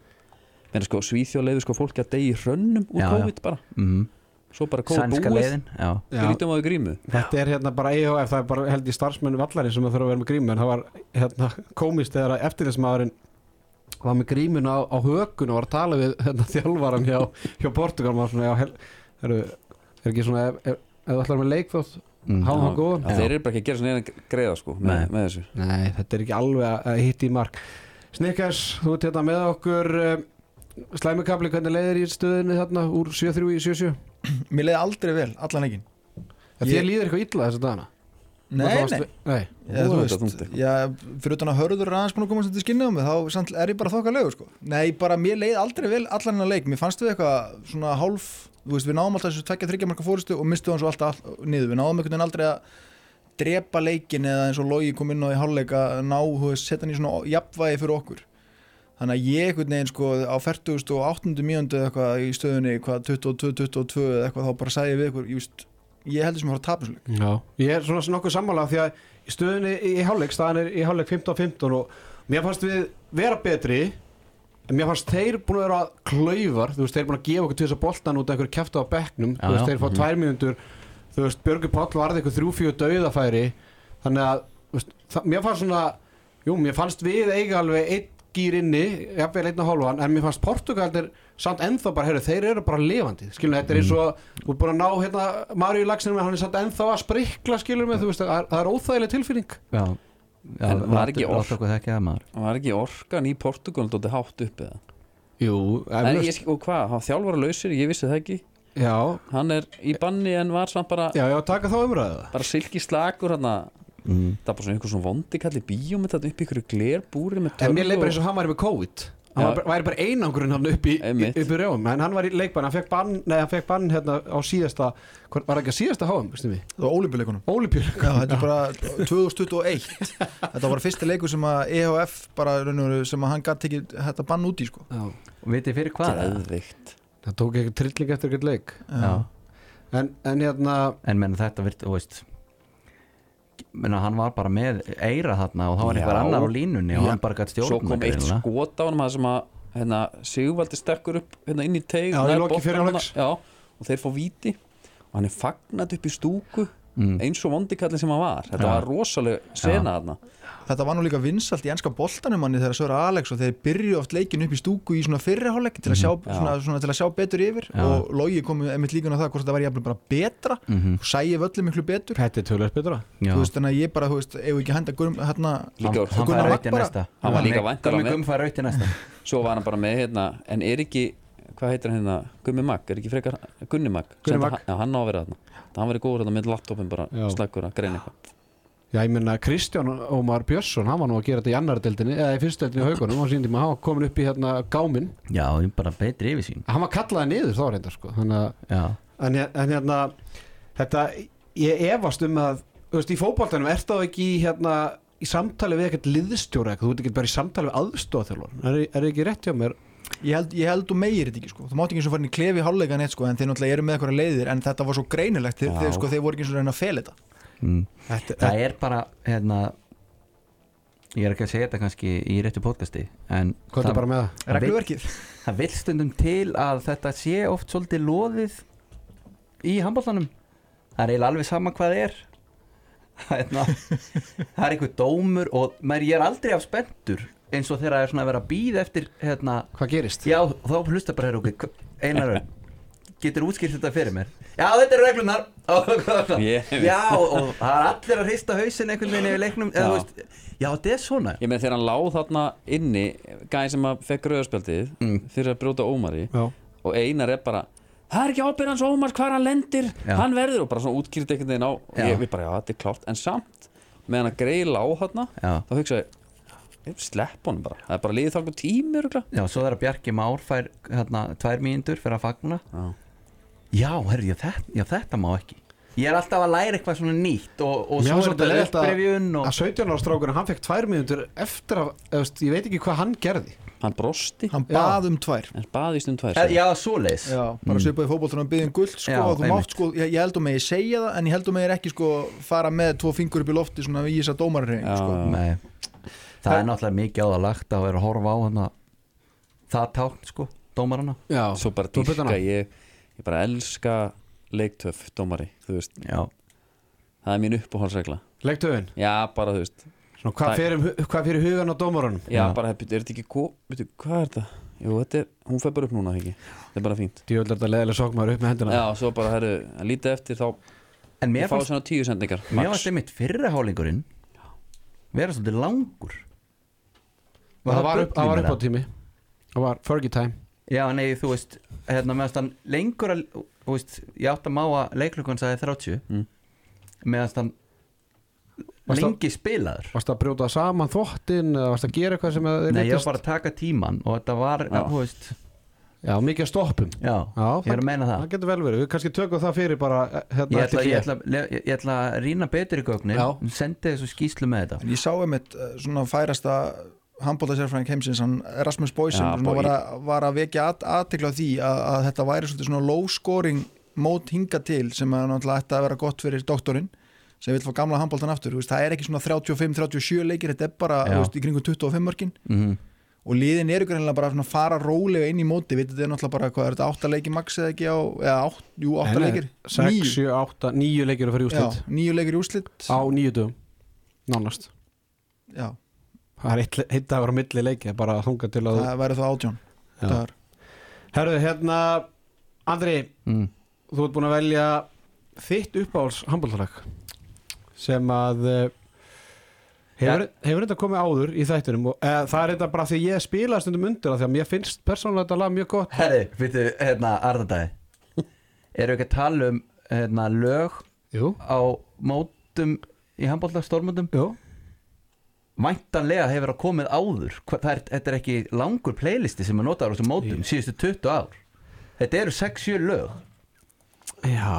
C: Menn sko, Svíþjóð leiður sko fólki að deyja í hrönnum úr
B: Já, já.
C: COVID bara
B: mhm,
C: Svo bara COVID
B: sænska
C: búið
B: leiðin Já,
A: Já.
C: Við lítum á því grímu
A: þetta er hérna bara EHF, það er bara held í starfsmennu vallari sem að þurfa að vera með grímu, en það var hérna, komist þegar að eftirlismæðurinn var með grímuna á, á hökun og var að tala við hérna, þjálfaran hjá, hjá Portugal maður svona, já, hel, er, er ekki svona, ef- ef ef þú ætlar með leikþótt
B: Mm.
A: háðan
C: Já,
A: og góðan
C: já, Þeir eru bara ekki að gera svona eina greiða sko með,
B: Nei.
C: með þessu
A: Nei, þetta er ekki alveg að- að hitti í mark Snickers, þú ert hérna með okkur um, slæmikabli, hvernig leiðir í stöðinu þarna úr 7-3 í 7-7
D: Mér leiði aldrei vel, allan ekki
A: Ég... Þér líður eitthvað illa þess að dana
D: Nei, nei,
A: nei
D: Já, þú
C: Voða þetta
D: veist,
C: þungt eitthvað.
D: já, fyrir utan að hörður er aðeins búin að komast þetta skinnið á mig, þá samt er ég bara þokkalegu sko. Nei, bara mér leið aldrei vel allan hennar leik, mér fannst við eitthvað svona hálf, þú veist, við náðum alltaf þessu tvekja þryggja marka fórustu og mistuðum svo alltaf all, niður, við náðum einhvern veginn aldrei að drepa leikin eða eins og logi kom inn á í hálfleika, ná, þú veist, setja hann í svona jafnvægi fyrir okkur. Þannig að ég einhvern veginn sko á 40 og 8. mjöndu eitthvað í stöðunni, hvað 22, 22 eða eitthvað, þá bara sagði ég við ykkur, ég, veist, ég heldur sem að fara að tapa þessu leik.
A: Já, ég er svona nokkuð sammála því að í stöðunni í í hálfleik, staðan er í hálfleik 15-15 og mér fannst við vera betri en mér fannst þeir búin að vera klaufar, þú veist, þeir búin að gefa okkur til þess að boltan út af einhverju kæftu á bekknum
B: Já,
A: þú veist,
B: já, Mhm.
A: þeir fá tvær mínútur þú veist, Björgur Páll varði eitthvað þrjú-fjú dauðafæri þannig að, þú veist, það, mér fannst svona jú, mér fannst við eiga alveg einn gýr inni, jafnvel einn og hálfan en mér fannst Portugaldir samt ennþá bara heyrðu, þeir eru bara lifandi, skilum þetta er eins
B: Mm.
A: og þú er búin að ná hérna Maríu Laxinum hann er samt ennþá að sprikla, skilum við þú veist, það er- það er óþægileg tilfinning
B: já
C: En var ekki orð?
B: orð okkur þekkið það maður
C: Var ekki orkan í Portugal dóttir hátt upp eða?
A: Jú,
C: En ég, sk- og hvað, hann þjálfara lausir, ég vissi það ekki
A: já,
C: Hann er í banni en var samt bara
A: já, já, taka þá umræðu
C: bara silki slagur hann
A: Mm.
C: það er bara svona einhver svona vondi kalli bíómynd þetta upp í einhverju glerbúri með
A: En mér
C: tölvu
A: leið bara eins
C: og-
A: og hann væri með COVID Hann
C: Já.
A: var, bara- væri bara einangurinn hann upp í,
C: Einmitt.
A: upp í rjáum En hann var í leikbann, hann fekk bann, nei, hann fekk bann hérna á síðasta hvern, Var það ekki að síðasta háum, veistum við?
D: Það var ólimpíuleikunum
A: Ólipjör
D: Já, þetta er bara 2021 Þetta var bara fyrsti leikur sem að EHF bara raun og veru sem að hann gatt ekki þetta bann út í sko
B: Og veit ég fyrir hvað eða?
C: Geðvikt
A: Það tók ekki trilling eftir ekkert leik
B: Já.
A: En, en hérna,
B: En menna þetta virt, þú veist menna hann var bara með eira þarna og það var
C: Já.
B: eitthvað annar á línunni og hann bara gætt
C: Svo
B: stjórnum
C: kom eitt sko. skot á hann sem að hérna, Sigvaldi stekkur upp hérna, inn í teig
A: Já, í
C: nær
A: loki
C: boltanum
A: fyrri
C: þarna,
A: hálfleiks.
C: Já, og þeir fá víti og hann er fagnat upp í stúku
B: Mm.
C: eins og vondikallin sem hann var þetta
B: Já.
C: var rosaleg sena þarna
D: Þetta var nú líka vinsalt í enska boltanum manni þegar Söra Alex og þeir byrju oft leikin upp í stúku í svona fyrriháleik til, að sjá- svona, svona, til að sjá betur yfir
B: Já.
D: og Logi kom einmitt líka á það hvort þetta var jafnvel bara betra og sæi völlum miklu betur
A: Petti tölur betra
D: þú veist, þannig að ég bara, þú veist, ef ekki henda gurum, hérna,
C: líka,
B: hann, hann
D: Gunnar Magn
B: fær rautt í
D: bara.
B: næsta
C: Hann var líka væntanlega
B: Gummi
C: með.
B: Gum fær rautt í næsta
C: svo var hann bara með hérna, en er ekki hvað heitir hann hérna, Gummi Mag er ekki frekar Gunni Mag,
A: Gunni Magg.
C: Hann, já, hann á að vera þarna Það hann verið góður þarna með laptopin bara
A: Já.
C: slaggur að greina eitthvað
A: Já, ég menna Kristján Ómar Björnsson, hann var nú að gera þetta í annardeldinni, eða í fyrstdeldinni á haugunum, hann síndi maður, hann var komin upp í hérna gáminn,
B: já, ég bara betri yfir sín
A: hann var kallaði niður þá reyndar, sko, þannig að,
B: já,
A: en, ég- en hérna, þetta, ég efast um að, þú veist, í fótboltanum ert þá ekki í hérna, í samtali við ekkert liðstjóra eitthvað, þú ert ekki bara í samtali við aðstofþjálfur, er, er ekki rétt hjá mér?
D: ég held, ég held þú meir þetta ekki, sko, þú mátt ekki eins og farin í klefi háleika neitt, sko, en þeir náttúrulega eru með eitthvað leiðir, en þetta var svo greinilegt, þeir,
C: Já.
D: þeir, sko, þeir voru ekki eins og reyna að fela þetta.
B: mm.
A: Þetta,
B: það er bara hérna ég er ekki að segja þetta kannski í réttu podcasti en
A: hvað er
B: það,
A: bara með það?
B: það, vil,
D: Regluverkið.
B: það vil stundum til að þetta sé oft svolítið loðið í handbóltanum það er eiginlega alveg sama hvað er hérna, það er einhver dómur og maður ég er aldrei af spenntur eins og þegar það er svona að vera að býða eftir hérna,
A: Hvað gerist?
B: Já, þá hlusta bara hér okkur Einar Örn, getur útskilt þetta fyrir mér Já, þetta eru reglunar
C: Ég veit.
B: Já, og, og það er allir að hrista hausin einhvern veginn yfir leiknum eða,
C: Já.
B: þú veist, já, þetta er svona
C: ég með þegar hann láð þarna inni gæði sem að fekk rauðarspjaldið fyrir að brjóta Ómari
A: Já.
C: og Einar er bara það er ekki ábyrð hans Ómar hvar hann lendir
B: Já.
C: hann verður og bara svona útkýrt einhvern veginn á og
B: Já.
C: ég við bara já þetta er klárt en samt meðan að greila á þarna
B: Já.
C: þá hugsa ég, ég slepp honum bara það er bara liðið þá einhver tími örugglega.
B: Já, svo þegar Bjarki Már fær hérna, tvær mínútur fyrir að fagna
C: Já.
B: Já, herri, já, þetta, já, þetta má ekki Ég er alltaf að læra eitthvað svona nýtt og, og
A: Mér
B: svo
A: var
B: er
A: svolítið
B: þetta
A: leiðilegt að,
B: upprifjun og...
A: að 17 ára strákurinn, hann fekk tvær miðundur eftir að, eða, þú veist, ég veit ekki hvað hann gerði.
C: hann brosti
D: Hann
A: Já.
D: bað um tvær. Mm.
C: en baði í stund tvær
B: Eh, Já, svoleiðis
D: Já, bara svipaði fótboltanum að byggja um guld sko,
B: Já,
D: og þú
B: einmitt.
D: mátt sko, ég, ég held að megi segja það en ég held að megi ekki sko fara með tvo fingur upp í lofti svona í þess að dómarrein sko.
C: Já.
B: Nei, það er náttúrulega mikið á það lagt að vera að horfa á hana það tákn, sko, dómarana
A: Já,
C: svo bara
A: þú byrjar
C: dýrka
A: hana.
C: ég, ég bara elska leiktöf dómari þú veist
B: Já,
C: það er mín uppáhaldsregla
A: Leiktöfin,
C: já bara þú veist
A: svona, hvað,
C: Það-
A: fer um, hu- hvað fyrir hugan á dómarunum?
C: já,
B: Já.
C: bara byrju, er þetta ekki ko- byrju, hvað er þetta jú þetta er hún fer bara upp núna ekki þetta er bara fínt
A: Djöðlega þetta leðilega sokmaður upp með hendina
C: já svo bara herru að líta eftir þá
B: en
C: Ég
B: mér
C: fá
B: fannst
C: svona tíu sendingar
B: Mér varst einmitt fyrra hálingurinn vera svolítið langur
A: Og Það var, upp, það var
B: bullin
A: upp á
B: þeirra?
A: tími Það var Fergie time
B: Já, nei, þú veist, hérna, mér varst hann lengur að, þú veist, ég átt að má að leiklökun sagði 30
C: Mm.
B: mér varst hann
A: Varst það-
B: lengi spilaður
A: Varst að brjóta saman þvottin eða varst að gera eitthvað sem að
B: Nei, ég var bara að taka tíman og þetta var,
C: Já.
B: þú veist
A: Já, mikið að stoppum
B: Já,
A: Já,
B: ég er að meina
A: Það
B: það
A: getur vel verið, við kannski tökum það fyrir bara eh, hérna
B: Ég
A: eftir
B: ætla,
A: hlé.
B: ég, ætla, ég, ég ætla að rýna betur í gögnin
A: Já.
B: sendi þessu skýslu með þetta
D: en ég sá einmitt eh, svona færasta handbóltasérfræðing heimsins, hann Rasmus Boysen
C: Já,
D: sem
C: Boy.
D: var, að- var að vekja at, aðtekla því að, að þetta væri svolítið svona low scoring mót hinga til sem að náttúrulega ætti að vera gott fyrir doktorinn sem vil fá gamla handbóltan aftur, þú veist, það er ekki svona 35-37 leikir, þetta er bara
B: Já.
D: þú veist, í kringum 25 mörkin
B: mm -hmm.
D: og liðin eru greinlega bara svona að fara rólega inn í móti, við þetta er náttúrulega bara hvað er þetta átta leiki max eða ekki á, eða átt, jú átta
A: Nei, nei,
D: leikir,
A: Sex, sjö, átta, níu leikir að fyrir
D: já,
A: úrslit
D: níu leikir í úrslit
A: Á níu dögum Nánast
D: já,
A: Það er eitt, eitt dagur á milli leiki bara að hunga til að
D: það væri þá átjón
A: Já.
D: dagar.
A: Herðu, hérna Andri,
B: Mm.
A: þú ert búin að velja þitt uppáhalds handbóltalag sem að eh, hefur, hefur þetta komið áður í þættinum og e, það er þetta bara því ég spila stundum undir það því að mér finnst persónulega þetta lag mjög gott
B: Herri, vittu, hérna, Arðardagi Eru ekki að tala um hérna, lög
A: Jú,
B: á mótum í handbólta
A: jú,
B: væntanlega hefur það komið áður Hva, það er, þetta er ekki langur playlisti sem er notaður á þessum mótum síðustu 20 ár þetta eru 6-7 lög
A: Já,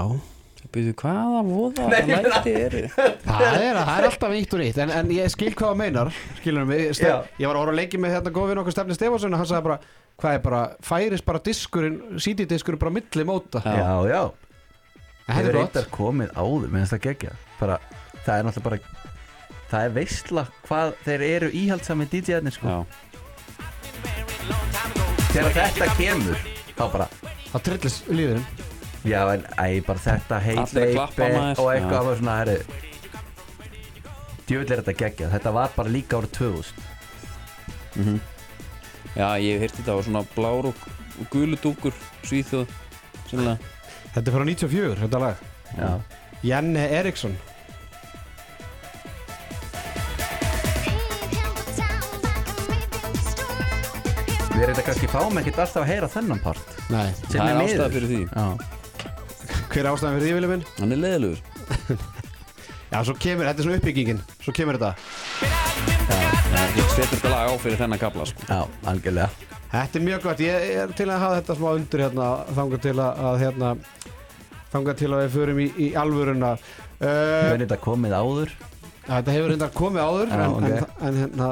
C: Býtu, hvaða voða
B: Nei, ég meina-
C: læti eru?
A: það er, það er alltaf nýtt og nýtt en, en ég skil hvað það meinar skilur mig,
B: Já.
A: stef, ég var að orða að leiki með þetta góðvinn okkur Stefni Stefansson og hann sagði bara, hvað er bara, færis bara diskurinn, CD-diskurinn bara á milli móta
C: Já.
B: já, já.
A: En þetta er
B: Hefur
A: gott
B: reyndar komið áður meðan það gegja bara, það er náttúrulega bara það er veistla hvað þeir eru íhaldsami DJ-arnir sko
C: Já,
B: þegar þetta kemur þá bara
A: Það trillist líðurinn
B: já en æ bara þetta heit
C: Allir að klappa, maður.
B: og
C: Já.
B: eitthvað að vera svona herri djúvill er þetta gegja þetta var bara líka árið 2000
C: mhm. já ég heirti þetta á svona blár og, og gulu dúkur Svíþjóð Sannlega
A: Þetta er frá 94, þetta lag
B: já
A: Janne Eriksson
B: við erum þetta kannski fáum ekkert alltaf að heyra þennan part
A: Nei
B: sem
C: Það
B: er
C: er
B: miður
C: ástæða fyrir því
B: já
A: Hver er ástæðan fyrir því viljum minn?
C: Hann er leðilegur
A: Já, svo kemur, þetta er svona uppbyggingin Svo kemur þetta
C: Ég setur þetta lag á fyrir þennan kapla sko.
B: já algjörlega
A: Þetta er mjög gott, ég ég er til að hafa þetta smá undir hérna Þangað til að, að hérna Þangað til að við förum í, í alvöruna
B: við
A: uh,
B: erum þetta komið áður
A: Þetta hefur reyndar komið áður
B: Já,
A: en,
B: ok.
A: en, en hérna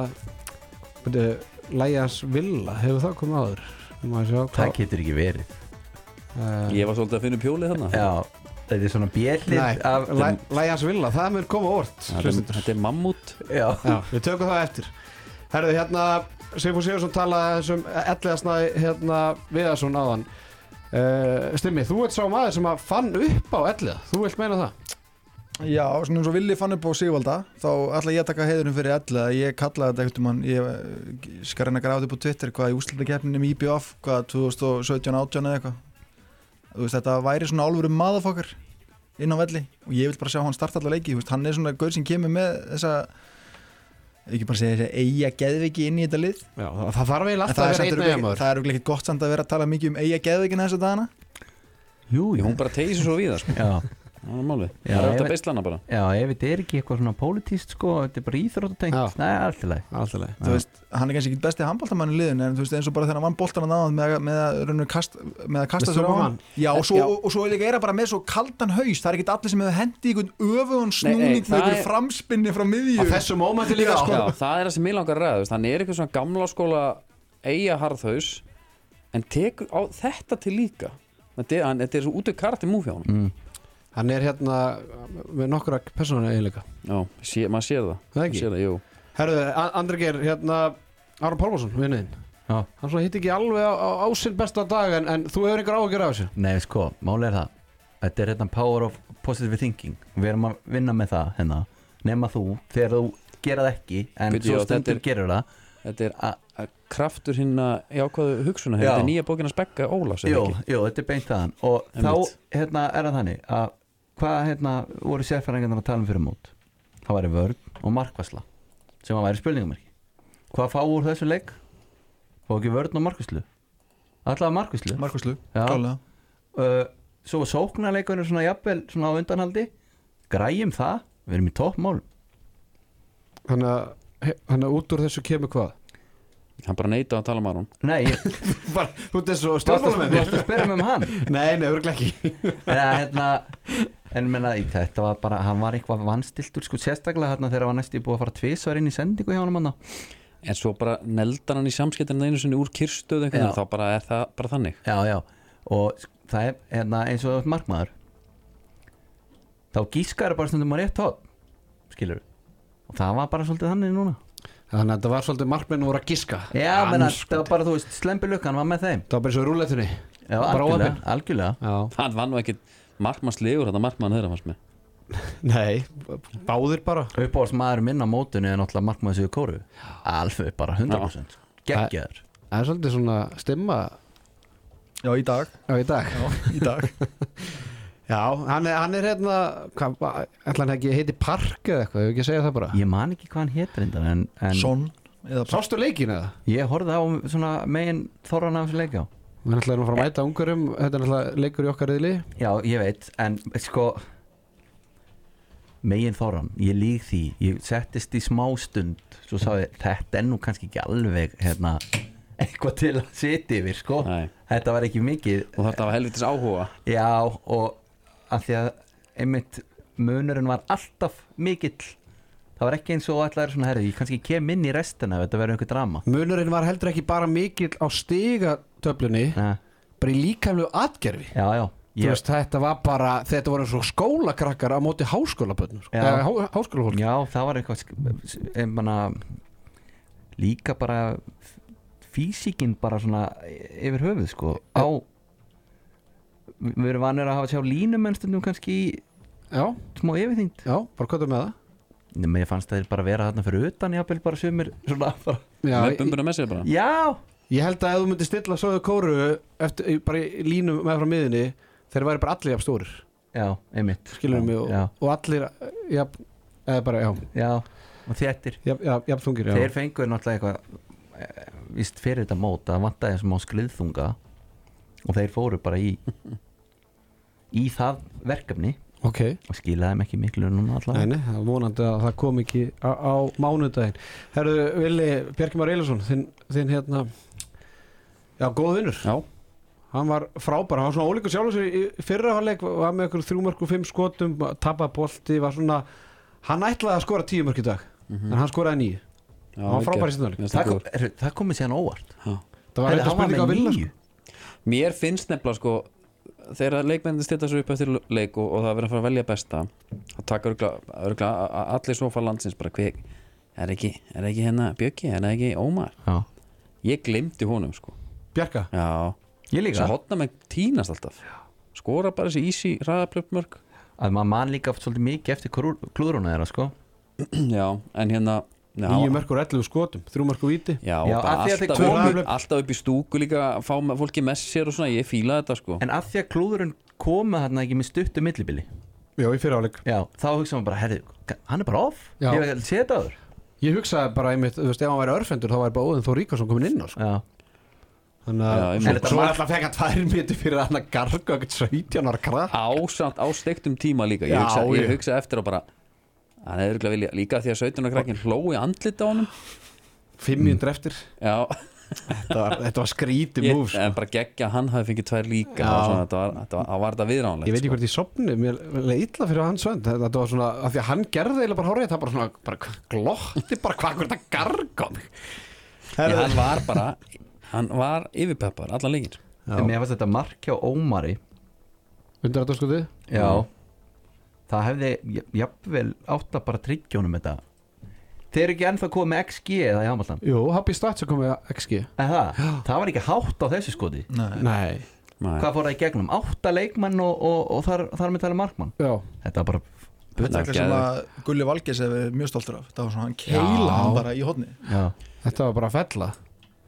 A: byrju, Læjas Villa, hefur það komið áður? Má ég sjá
B: það
A: hvað
B: getur ekki verið
A: uh,
C: Ég var svolítið að finna upp hjólið þarna
B: Já, þetta er svona bjellið
A: Nei,
B: af
A: Læ, Læjas Villa, það mun koma óvart
C: Þetta er-
A: hlustendur.
C: Þetta er mammút
B: Já,
A: Já, við tökum það eftir Herðu, hérna Sigfúr Sigursson talaði þessum elliðasnaði hérna Viðarsson áðan uh, Stimmi, þú ert sá maður sem að fann upp á elliða, þú vilt meina það
D: Já, svona eins og Willi fann upp á Sigvalda þá ætla ég að taka heiðurinn fyrir alla ég kallaði þetta eitthvað mann ég eh, skal reyna að grafa þetta upp á Twitter hvað í úslitakeppninum í IBF hvað 2017-18 eða eitthvað Þú veist, þetta væri svona álfuru maðafokkar inn á velli og ég vil bara sjá hann starta alla leiki þú veist, hann er svona gaur sem kemur með þessa ekki bara segja þessa eiga geðviki inn í þetta lið
A: Já, það, það þarf eiginlega
D: En
A: alltaf að vera
D: er samt
A: einn
D: örugglega-
A: eiginmaður
D: það er ekki gott samt að vera að tala mikið um eiga geðvikina þessa dagana
B: jú,
C: Ég hún bara tegir sér svo við það sko.
B: já,
C: Það er málið
B: Já,
C: Það er
B: ég
C: þetta
B: veit-
C: beislana bara
B: já, ef þetta er ekki eitthvað svona pólitíst sko, þetta er bara íþróttatengt
A: Já.
B: Nei, allt í lagi
A: Alltaf leið
D: þú veist, hann er kannski ekki besti handbóltamann í liðun en þú veist, eins og bara þegar hann vann bóltan að náðan með, að- með, að, rauninu kast, með að kasta
A: Með
D: sér á
A: stróman.
D: hann já, og svo, og, og svo er líka er það bara með svo kaldan haus það er ekki allir sem hefur hendið einhvern öfugan
C: nei,
D: snúning með
C: það
D: einhver
C: er-
D: framspinni frá
A: Á
D: miðju
A: þessu mómenti líka sko
C: Já, það er það sem ég langar að ræða þú veist, Hann er eitthvað svona gamla skóla eiga harðhaus En tekur á þetta til líka Þetta er, hann, þetta er svo út af karti múfi á hann
B: mm.
A: Hann er hérna með nokkura persónu eiginleika
C: Já, sé, maður sér það
A: Það
C: Maður
A: ekki?
C: sér það, jú
A: Herðu, A- Andri Geir, hérna Ára Pálmarsson, vinnuðinn
B: Já.
A: Hann svo hitt ekki alveg á, á, á sinn besta dag en, en þú hefur einhver áhugjur af þessu
B: Nei, sko, máli er það Þetta er hérna power of positive thinking Við erum að vinna með það hérna Nema þú, þegar þú gera það ekki En
C: Bíddu, já,
B: svo
C: þetta
B: stundur
C: er-
B: gerur það
C: Þetta er
B: A-
C: a- kraftur hinn að jákvæðu hugsuna
B: Já.
C: Þetta er nýja bókin að spekka Ólafs er það
B: Jú,
C: ekki?
B: jú, þetta er beint þaðan Og
C: Einmitt.
B: þá, hérna, er það þannig að Hvað, hérna, voru sérfæringarnar að tala um fyrir mót Það væri vörn og markvæsla Sem að væri spurningamarki Hvað fá úr þessu leik? Fá ekki vörn og markvæslu Alla markvæslu
D: Markuslu,
B: Já.
D: klálega
B: uh, svo sóknarleikurinn er svona jafnvel svona á undanhaldi græjum það, við erum í toppmál
A: Þannig að- þannig að út úr þessu kemur hvað?
C: Hann bara neita að tala um Aron
B: nei, ég
A: bara, þú ert eins og
B: varst
A: stjórnmála
B: að,
A: með
B: varst að spyrja mig um hann
A: Nei, nei, örglega ekki
B: en, að, hérna, en menna, þetta var bara hann var eitthvað vannstiltur sko, sérstaklega hérna, þegar hann var næstu búið að fara tvisvar inn í sendingu hjá honum hann
C: En svo bara neldar hann í samskiptin einu sinni úr kyrstöð einhvern
B: Já.
C: veginn Þá bara er það bara þannig
B: já, já, og sk- það er hérna, eins og þú ert markmaður þá gískar bara stundum á rétt hótt skilur og það var bara svolítið þannig núna
A: Þannig að þetta var svolítið markmenn voru að giska
B: já, menna,
A: Andskot.
B: það var bara, þú veist, slempi lukkan var með þeim
A: Það var bara eins og í rúletunni
B: já,
A: Bara
B: algjörlega,
A: óheppin.
B: algjörlega.
A: Já
C: Hann var nú ekkit markmannslegur Þetta markmann þeirra fannst mér
A: Nei, báðir bara
B: uppáhalds maður minn á mótunni er náttúrulega markmaður sigur kóru alveg bara 100% geggjaður
A: Það er svolítið svona stimma
D: já, í dag,
A: á í dag
D: já, í dag.
A: Já, hann er, hann er hérna hvað, ætla hann ekki heiti Park eða eitthvað, hefur ekki að segja það bara
B: ég man ekki hvað hann hétt reyndar en, en
D: son eða bara
A: Sástu leikinu eða?
B: ég horfði á um svona megin þorran af þessu leik á
A: Við ætlaðum að fara að mæta ungurum, þetta er náttúrulega leikur í okkar riðli
B: já ég veit en sko megin þorran, ég lík því ég settist í smá stund svo sagði þetta er nú kannski ekki alveg hérna, eitthvað til að sitja yfir sko,
C: Nei.
B: þetta var ekki mikið
C: og þetta var helvitis áhuga
B: já og að því að einmitt munurinn var alltaf mikill það var ekki eins og allar svona herri, ég kannski kem inn í restina ef þetta verður einhver drama
A: Munurinn var heldur ekki bara mikill á stigatöflunni
B: ja,
A: bara í líkamlegu atgerfi
B: Eh, já, já
A: Þú veist, þetta var bara, þetta voru eins og skólakrakkar á móti háskólabönnum sko.
B: Já.
A: eða há, háskólafólk
B: Já, það var eitthvað sk- em, manna, líka bara f- físíkin bara svona y- yfir höfuð sko á við við erum vanir að hafa að sjá línum en stundum kannski í
A: Já,
B: smá yfirþyngd
A: já, bara hvað með það
B: Nei, mér fannst þeir bara vera þarna fyrir utan jáfnvel bara sumir svona bara
A: Já,
C: með
A: ég,
C: bumbuna með sér bara
B: Já,
A: ég held að ef þú myndir stilla svoðu kóru eftir, í- bara í línum með frá miðinni þeir væri bara allir jafn stórir
B: já, einmitt
A: skilur mig og,
B: Já,
A: og allir jafn, eða bara, já,
B: já, og þettir
A: jafn, jafn, jafn þungir já.
B: Þeir fenguðu náttúrulega eitthvað eh, víst fyrir þetta mót að vantaði sem á skriðþunga og þeir fóru bara í í það verkefni
A: Ok,
B: og skilaði þeim ekki miklu núna allavega
A: neini, það er vonandi að það kom ekki á, á mánudaginn Herðu, Vili Bjarkimar Eilarsson þinn, þinn hérna já, góð vinnur
C: já,
A: hann var frábær, hann var svona ólíkur sjálf sér í í fyrra hálfleik, var með okkur þrjúmörku fimm skotum, tapabolti, var svona hann ætlaði að skora tíu mörk í dag en hann skoraði nýju,
C: já
A: Hann var
C: vel
A: frábær
C: gert.
A: í seinni hálfleik.
C: Mér finnst
B: það,
C: það
B: kom,
C: góður.
B: er, það komið síðan á óvart
C: Já.
A: það var
B: Heyrðu,
A: eitthvað
B: hann var
A: spurning á
B: með
A: Villa
B: níu.
A: sko.
C: Mér finnst nefnilega sko þegar leikmennin styrta svo upp eftir leik og, og það er verið að fara að velja besta þá taka örgla, örgla allir sofa landsins bara hver, er ekki, er ekki hérna Bjöggi, er það ekki Ómar
B: Já.
C: ég glemdi honum sko
A: Bjarka,
C: já,
B: Ég líka
C: svo hotna með tínast alltaf skora bara þessi ísi ræðaplöpmörk
B: að maður man líka svolítið mikið eftir klúr- klúðruna þeirra sko
C: já, en hérna já,
A: níu mörkur og 11 skotum, þrjúmörku víti
C: já,
B: Já,
C: já
B: af því að þeir
C: alltaf,
A: komu-
C: upp, alltaf upp í stúku líka að fá með- fólki með sér og svona, ég fíla þetta sko
B: en að því að klúðurinn koma þarna ekki með stuttu millibili
A: já, í fyrra hálfleik
B: já. þá hugsa maður bara, herri, hann er bara off
A: Já.
B: ég hef ekki séð þetta áður
A: ég hugsaði bara einmitt, þú veist, ef hann væri örfendur þá væri bara óðin þó Ríkarsson komin inn á sko.
B: já.
A: þannig
C: Já,
A: að,
C: ég
A: já,
C: meina-
A: svo var alltaf að feka tvær miti fyrir hann að garga okkur 17 ára krakk
C: ásamt á steiktum tíma líka ég
A: Já,
C: hugsa,
A: ég.
C: ég hugsa eftir og bara hann hefur örugglega vilja líka því að 17 krakkin hlói andlit á honum
A: 500 eftir,
C: já,
A: þetta var, þetta var skríti
C: ég,
A: múf sko.
C: en bara geggja að hann hafi fengið tvær líka
A: Já.
C: og svona, þetta var, þetta var, það var þetta viðránlegt
A: Ég veit ekki hvort ég sopni, mér mér leið illa fyrir hans vönd Þetta var svona, af því að hann gerði eiginlega bara hórið Það bara svona, bara glotti bara hvað hvort það garga á mig
C: sko. ég, hann var bara hann var yfirpeppar allan leikinn
A: Já.
B: en mér fannst þetta mark hjá Ómari
A: Undir þetta sko þið?
B: Já Mm. Það hefði ja- jafnvel átt að bara tryggja honum þetta Þeir eru ekki ennþá komið með XG eða í Hamaldan
A: Jú, Happy Stats er komið að XG
B: það, það var ekki hátt á þessu skoti
D: Nei.
A: Nei
C: Nei.
B: Hvað fór það í gegnum? Átta leikmann og, og, og þar, þar með talið markmann
A: Já,
B: Þetta var bara
D: Þetta er
C: Nei,
D: eitthvað sem
C: geðveikt.
D: að Gulli Valgeis hefur verið mjög stoltur af Það var svona hann keila hann bara í hodni
B: já.
A: þetta var bara að fella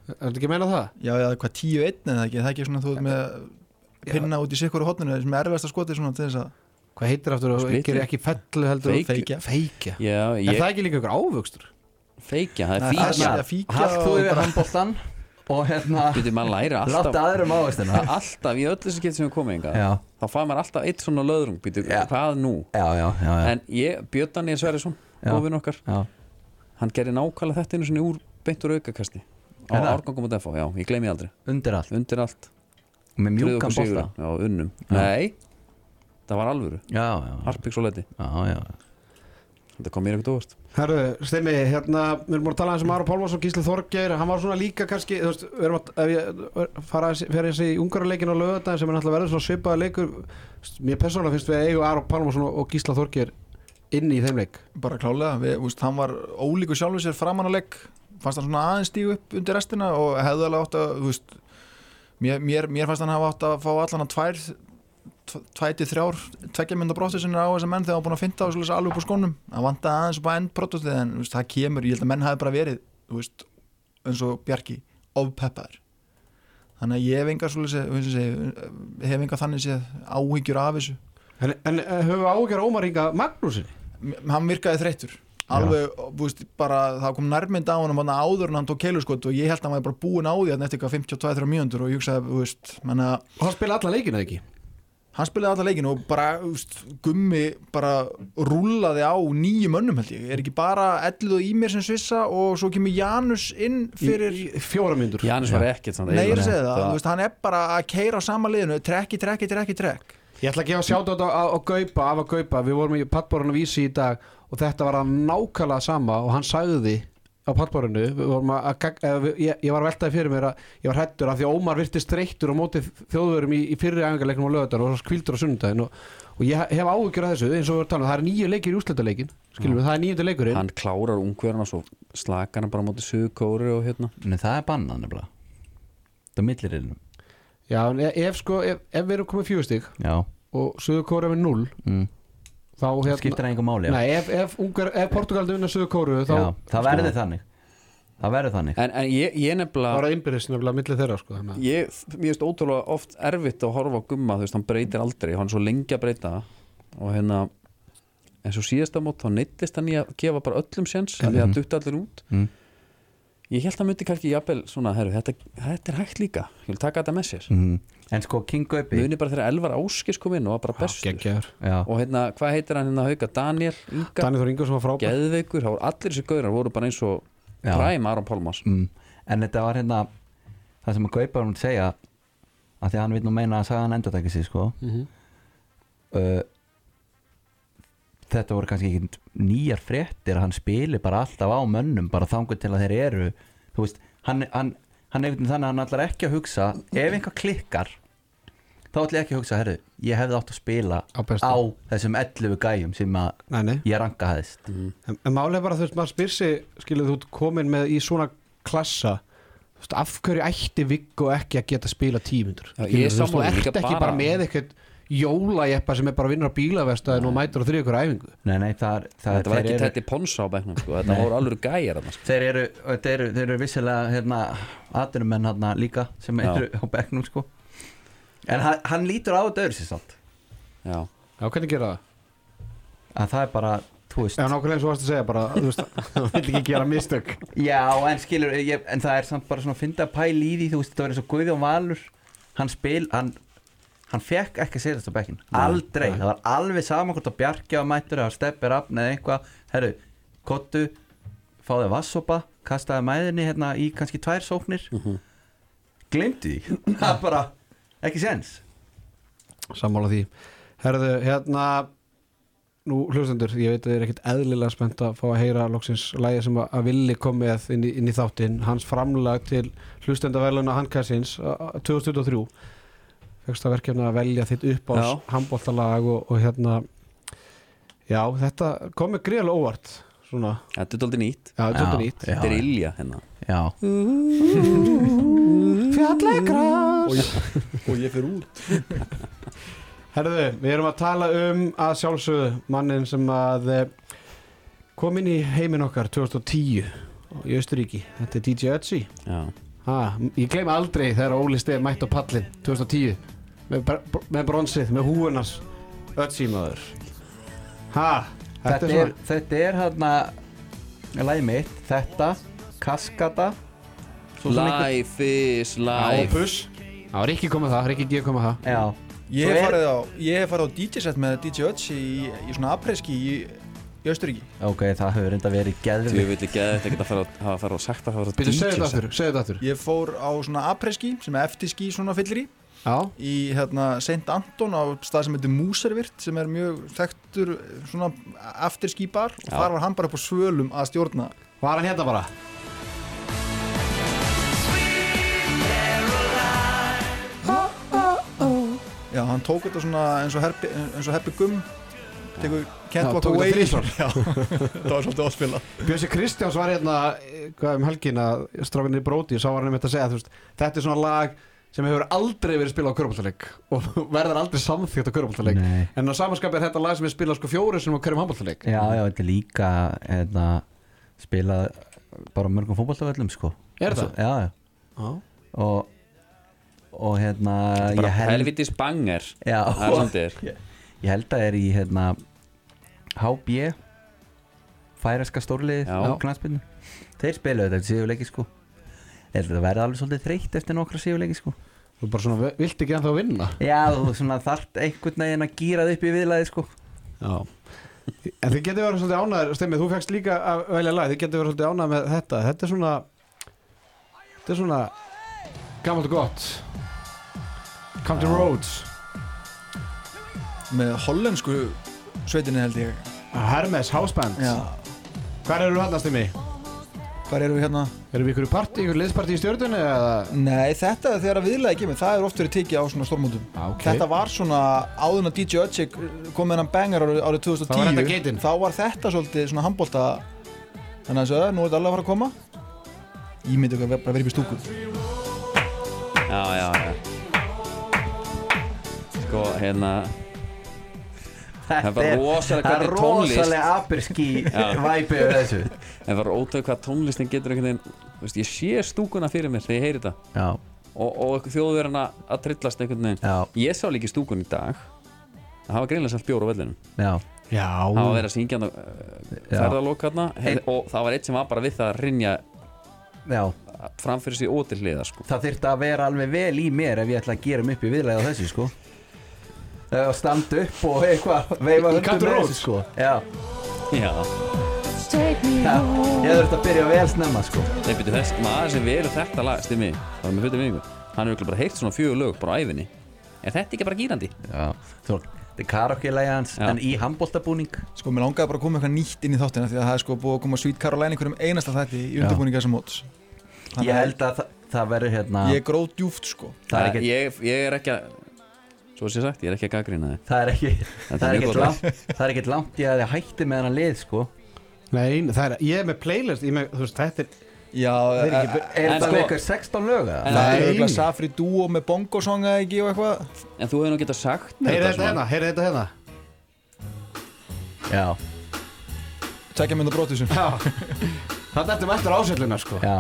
A: Er þetta ekki að meina það?
D: Já, eða hvað 10-1 eða ekki, það er ekki svona þú ert með pinna út í sikkur hodninu sem er erfiðast að skoti svona til þess að
A: Hvað heitir aftur að
C: Splitting?
A: gera ekki fellu heldur
C: Feikja.
A: Feikja, Feikja.
C: já,
A: Er
C: ég
A: það ekki líka ykkur ávöxtur?
C: feikja, það
D: Nei,
C: er
D: það
C: fíkja
D: er- fíkja
B: Hald þú
D: og
B: yfir
D: bara-
B: handbóltan og hérna
C: getur maður læra
B: Láta
C: alltaf
B: aðrum ávistina
C: alltaf, í öllu sem getur sem við komið enga
B: Já,
C: þá fá maður alltaf eitt svona löðrung býtu,
B: Já.
C: hvað nú,
B: já, já, já, já.
C: en ég Björn Daniel Sverrisson,
B: Já.
C: ofinn okkar
B: já.
C: hann gerði nákvæmlega þetta einu svona úr beint úr aukakasti á
B: Er það?
C: árgangum á DFO, já, ég gleymi því aldrei
B: Undir allt
C: undir allt, tryggði
B: Með mjúkan
C: okkur
B: bólta
C: sigurinn. já, unnum, nei, það var alvöru
B: Já, já,
C: harpík svo leti,
B: já, já.
C: þetta kom mér ekkert óvart
A: Herru, Steini, hérna, við erum búin að tala eins um Ára Pálmarsson, Gísli Þorgeir, hann var svona líka kannski, þú veist, við erum að, ef ég fara að fyrir þessi ungaruleikin á lögðardaginn sem er náttúrulega verður svona svipaða leikur, þú veist, mér persónulega finnst við að eiga Ára Pálmarsson og Gísla Þorgeir inn í þeim leik.
D: bara klálega, við, úst, hann var ólíku sjálfur sér framan á legg fannst hann svona aðeins stígu upp undir restina og hefði alveg átt að þú veist, mér, mér, mér fannst hann hafa átt að fá allan að tvær tvæti þrjár, tveggja mynda brottið sinni á þessa menn þegar hann var búin að finna á þessu alveg upp á skónum hann vantaði aðeins upp á end brottið en þú veist, það kemur, ég held að menn hafi bara verið þú veist, eins og Bjarki ofpeppaður þannig að ég hef enga, svoleiðis- þú veist, ég segi, hef enga þannig séð áhyggjur af þessu
A: En, en eh, höfum við ágjör Ómar Inga Magnúsin?
D: M- hann virkaði þreyttur alveg, þú veist, bara það kom nærmynd á hann hann áður en hann tók keiluskot og ég held að hann var bara búin á því að eftir eitthvað 52-3 mjöndur og ég hugsaði, þú veist, menna
A: Og hann spila alla leikina ekki?
D: hann spilaði alla leikinu og bara úst, gummi bara rúllaði á nýju mönnum held ég, er ekki bara ellið og Ímir sem svissa og svo kemur Janus inn fyrir
A: í, í fjóra myndur
C: Janus var ekkert samt
D: Nei, ég er
C: eiginlega.
D: að segja það,
C: Það-
D: þú veist, hann er bara að keira á sama liðinu, trekki, trekki, trekki, trekk
A: Ég ætla að gefa sjátt á, á, á Gaupa, af að Gaupa Við vorum í pattbórun á vísi í dag og þetta var að nákvæmlega sama og hann sagði á pattbórunu ég, ég var veltaði fyrir mér að ég var hættur af því að Ómar virtist streittur á móti þjóðverum í, í fyrri æfingarleiknum á lögadar og skvildur á sunnudaginn og, og ég hef áhyggjur af þessu eins og við erum talað um, það er nýju leikir í úrslitaleikin skilum við, það er nýjönda leikurinn
C: hann klárar ungverðan og svo slakar hann bara á móti suðkóru og hérna
B: Nei, það er bannað nefnilega Það er millirinnum
A: Já, en e- ef, sko, ef, ef við erum komið fjögustig
B: Já,
A: og Suður Kóra með 0
B: mm.
A: þá hérna
B: skiptir það engum máli já.
A: Nei, ef, ef, ungar, ef Portugaldi vinna Suður Kóru þá Sko-
B: já, Það verður þannig Það verður þannig
C: en, en ég, ég nefnilega
A: var það innbyrðis nefnilega millir þeirra sko, þannig að-
C: ég, mér finnst ótrúlega oft erfitt að horfa á gumma þú veist, hann breytir aldrei, hann er svo lengi að breyta og hérna eins og síðasta mót, þá neittist hann í að gefa bara öllum séns, af því að dutta allir út
B: Mm.
C: ég held að hann myndi kannski jafnvel svona, herru, þetta, þetta er hægt líka ég vil taka þetta með sér,
B: mm.
A: Mm-hmm.
B: En sko, King Gaupi
C: muni bara þegar Elvar Áskis kom inn og var bara bestur
A: Geggjaður
B: Já,
C: og hérna, hvað heitir hann hérna hauka, Daniel Inga,
A: Danið Þór Ingarsson var frábær
C: Geðveikur, þá voru allir þessi gaurar voru bara eins og
B: Já.
C: præm Aron Pálmars
B: mm. En þetta var hérna Það sem að Gaupa var að segja að Því að hann vil nú meina að sagan endartæki sig sko.
A: Mhm.
B: uh, Þetta voru kannski ekki nýjar fréttir að Hann spili bara alltaf á mönnum Bara þangur til að þeir eru Þú veist, hann, hann, hann er einhvern veginn þannig að hann allar ekki að hugsa Ef einhver klikkar Þá ætla ég ekki að hugsa, herru, ég hefði átt að spila
A: Á besta.
B: á þessum 11 gæjum sem að
A: Nei, nei
B: ég ranka hæðist
A: En, en málið er bara þú veist, maður spyr sig skilur þú ert komin með í svona klassa þú veist, af hverju ætti Viggo ekki að geta spila tímundur
C: Já, ég er
A: þú veist, þú
C: sammála,
A: ert
C: líka
A: ekki bara,
C: bara-
A: með eitthvað jólajeppa sem er bara að vinna á bílavestaðin og mætir á þrið ykkur æfingu
B: Nei, nei, það er, það
C: þetta var
B: þeir
C: ekki
B: eru-
C: tætti ponsa á bæknum sko. þetta voru alveg gæjar þarna, sko.
B: Þeir eru, þeir eru, þeir eru vissilega hérna, atvinnumenn hérna líka sem
C: Já.
B: eru á bekknum sko En hann, hann lítur á þetta öðru sér samt
C: Já.
A: Já, hvernig gera það?
B: að það er bara, þú veist
A: Já, nákvæmlega eins og varst að segja bara þú veist, þú vill ekki gera mistök
B: Já, en skilur, ég, en það er samt bara svona að finna pæl í því, þú veist, þetta var eins og Guði og Valur hann spil, hann hann fekk ekki að segja þetta á bekkin aldrei, það var alveg sama hvort að bjargja á mættur eða steppir af eða eitthvað herru, kottu, fáði vassopa kastaði mæðinni hérna í kannski tvær sóknir mm -hmm. glemdi því, það er bara ekki sens
A: Sammála því Herðu, hérna Nú, hlustendur, ég veit að þið er ekkert eðlilega spennt að fá að heyra loksins lægi sem að- að villi komið inn í, inn í þáttinn hans framlag til hlustendaverluna handkæsins 2023 fegst að verkefna að velja þitt uppáðs
C: Já.
A: handbóltalag og, og hérna Já, þetta komið greiðlega óvart svona,
C: þetta er daldið nýtt
A: já, þetta er nýtt
C: Þetta er Ilja hérna
B: já,
A: Fjallegras
D: og ég fyrir út
A: Herðu, við erum að tala um að sjálfsögðu mannin sem að eh, kom inn í heiminn okkar 2010 í Austuríki. Þetta er DJ Ötzi.
C: Já,
A: Ha, ég gleyma aldrei þegar Óli Steff mætt á pallin 2010 með, br- með bronsið, með húunars Ötzi maður. Ha,
B: þetta,
A: þetta er
B: er,
A: svona...
B: þetta er hérna lagið mitt, þetta kaskata svo sem einhver-
C: Life is life
A: Ápus. Já, Rikki kom með það, Rikki G kom með það.
B: já,
D: ég
B: Svo
D: hef
B: er-
D: farið á, ég hef farið á DJ-set með DJ Ötzi í, í svona apreiski í, í Östuríki
B: ok, það hefur reynda verið
C: Þú
B: geðvig
C: vil ekki að þetta geta að fara að hafa að fara og sagt að fara að
A: Býttu, segðu
C: DJ
A: þetta
C: set.
A: aftur, segðu þetta aftur.
D: ég fór á svona apreiski sem er eftiski svona fyllir í
A: Já,
D: í hérna St. Anton á stað sem heitir Múservirt sem er mjög þekktur eh, svona eftirski bar og
C: Já.
D: þar var hann bara upp á svölum að stjórna
A: var hann hérna bara?
D: já, hann tók þetta svona eins og Herbi, eins og Herbi Gum tekur
A: Já,
D: Can't Walk
A: tók þetta
D: Away
A: þrisvar.
D: já, það var svolítið áspila
A: Bjössi Kristjáns var hérna eh, hvað um helgin að stráfinni Bróti sá var hann um þetta að segja þú veist, þetta er svona lag sem hefur aldrei verið spilað á körbóltaleik og verður aldrei samþýtt á körbóltaleik
B: Nei.
A: en á samanskap er þetta lag sem er spilað sko fjóru sem á hverjum handbóltaleik
B: Já, já, þetta er líka hérna, spilað bara á mörgum fótballtaföllum sko.
A: Er
B: Og svo-
A: það?
B: Já, já og, og hérna
C: Bara
B: ég held,
C: helvitis banger
B: já,
C: Það er samt þér
B: ég held að er í hérna, HB færaska stórliðið
C: Já.
B: á knatspilnu þeir spilaðu þetta eftir síðuleiki sko Ég held að það verði alveg svolítið þreytt eftir nokkra síðuleiki sko
A: Þú bara svona vilt ekki ennþá vinna
B: Já, þú svona þart einhvern veginn að gýra það upp í viðlaði sko
A: Já En þið getur verið svolítið ánæður, Stemmið, þú fegst líka að velja lag Þið getur verið svolítið ánæður með þetta Þetta er svona Þetta er svona Gammalt og gott Come to Rhodes
D: með hollensku sveitinni held ég
A: Hermes Houseband
D: Já.
A: Hvar eru hann að stemmi?
D: Hvar erum við hérna?
A: Erum við ykkur partí, ykkur liðspartí í stjórnunni eða?
D: Nei, þetta er þegar að viðlega ekki með það er oft verið tekið á svona stormótum
A: Ah, ok.
D: Þetta var svona áðun að DJ Ötsik kom með hann bengar árið, árið 2010
A: Þá var þetta geitin.
D: Þá var þetta svolítið svona handbólta Þannig að þessu, nú er þetta alveg að fara að koma Ég myndi ekki að bara verið upp í stúku
C: Já, já, já Sko, hérna
B: Þetta
C: er bara rosalega
B: það er
C: hvernig tónlist-
B: rosalega abirski
C: Já.
B: væpi yfir þessu
C: En var ótrúið hvað tónlistin getur einhvern veginn Þú veist, ég sé stúkuna fyrir mér þegar ég heyri þetta
B: Já,
C: Og, og þjóðverðana að trillast einhvern veginn
B: já,
C: Ég sá líki stúkun í dag Það hafa greinlega sælt bjór á vellinum
B: já
A: Já
C: Það var verið að syngja hann uh,
B: Já.
C: ferðalók hann
B: Ein-
C: Og það var eitt sem var bara við það að rinja
B: Já,
C: framfyrir sér ótil hliða sko.
B: það þyrfti að vera alveg vel í mér ef ég ætla að gera mig upp í viðlaði á þessu sko Eða standa upp og eitthvað veifa
A: Í Country
B: höndum með
A: Roads?
B: þessu sko Já,
C: Já,
F: Take me
B: já,
F: home.
B: ég þurfti að byrja vel snemma sko
C: þeir byrju þess maður sem velur þetta lag, stimmi það var með hlutum vinningu, hann er örugglega bara heyrt svona fjögur lög bara á æfinni, er þetta ekki bara gýrandi?
B: Já, þú, þetta er karaoke-lægi hans
C: Já.
B: en í handbóltabúning
D: Sko, mér langaði bara að koma eitthvað nýtt inn í þáttina Því að það er sko búið að koma Sweet Caroline einhverjum einasta þætti í undirbúninga þessum móts
B: Ég held að það, það verður hérna
D: Ég er gróð djúft sko
B: það er ekki,
C: ég, ég er ekki að svo sé sagt, ég er ekki að gaggrina þið
B: það er ekki,
C: er
B: það
C: mjög
B: er ekki
C: gott.
B: langt, það er ekki langt í að þið hætti með hennar lið sko
A: Nei, það er, ég er með playlist Ég er með, þú veist, þetta er
D: Já,
A: Þeir ekki
D: það
A: byrja-
B: Er
C: En
B: það
C: sko-
B: sko, eitthvað 16 lög eða?
C: En-
D: er
A: Nei.
D: auðvitað Safri Duo með bongosonga ekki og eitthvað
C: en þú hefur nú getað sagt mér
A: Heyrið þetta
C: svona.
A: hérna, heyrið þetta hérna
B: Já,
D: Tækja mynda brotisum
A: Já Þannig ertum eftir ásöllina, sko
B: já,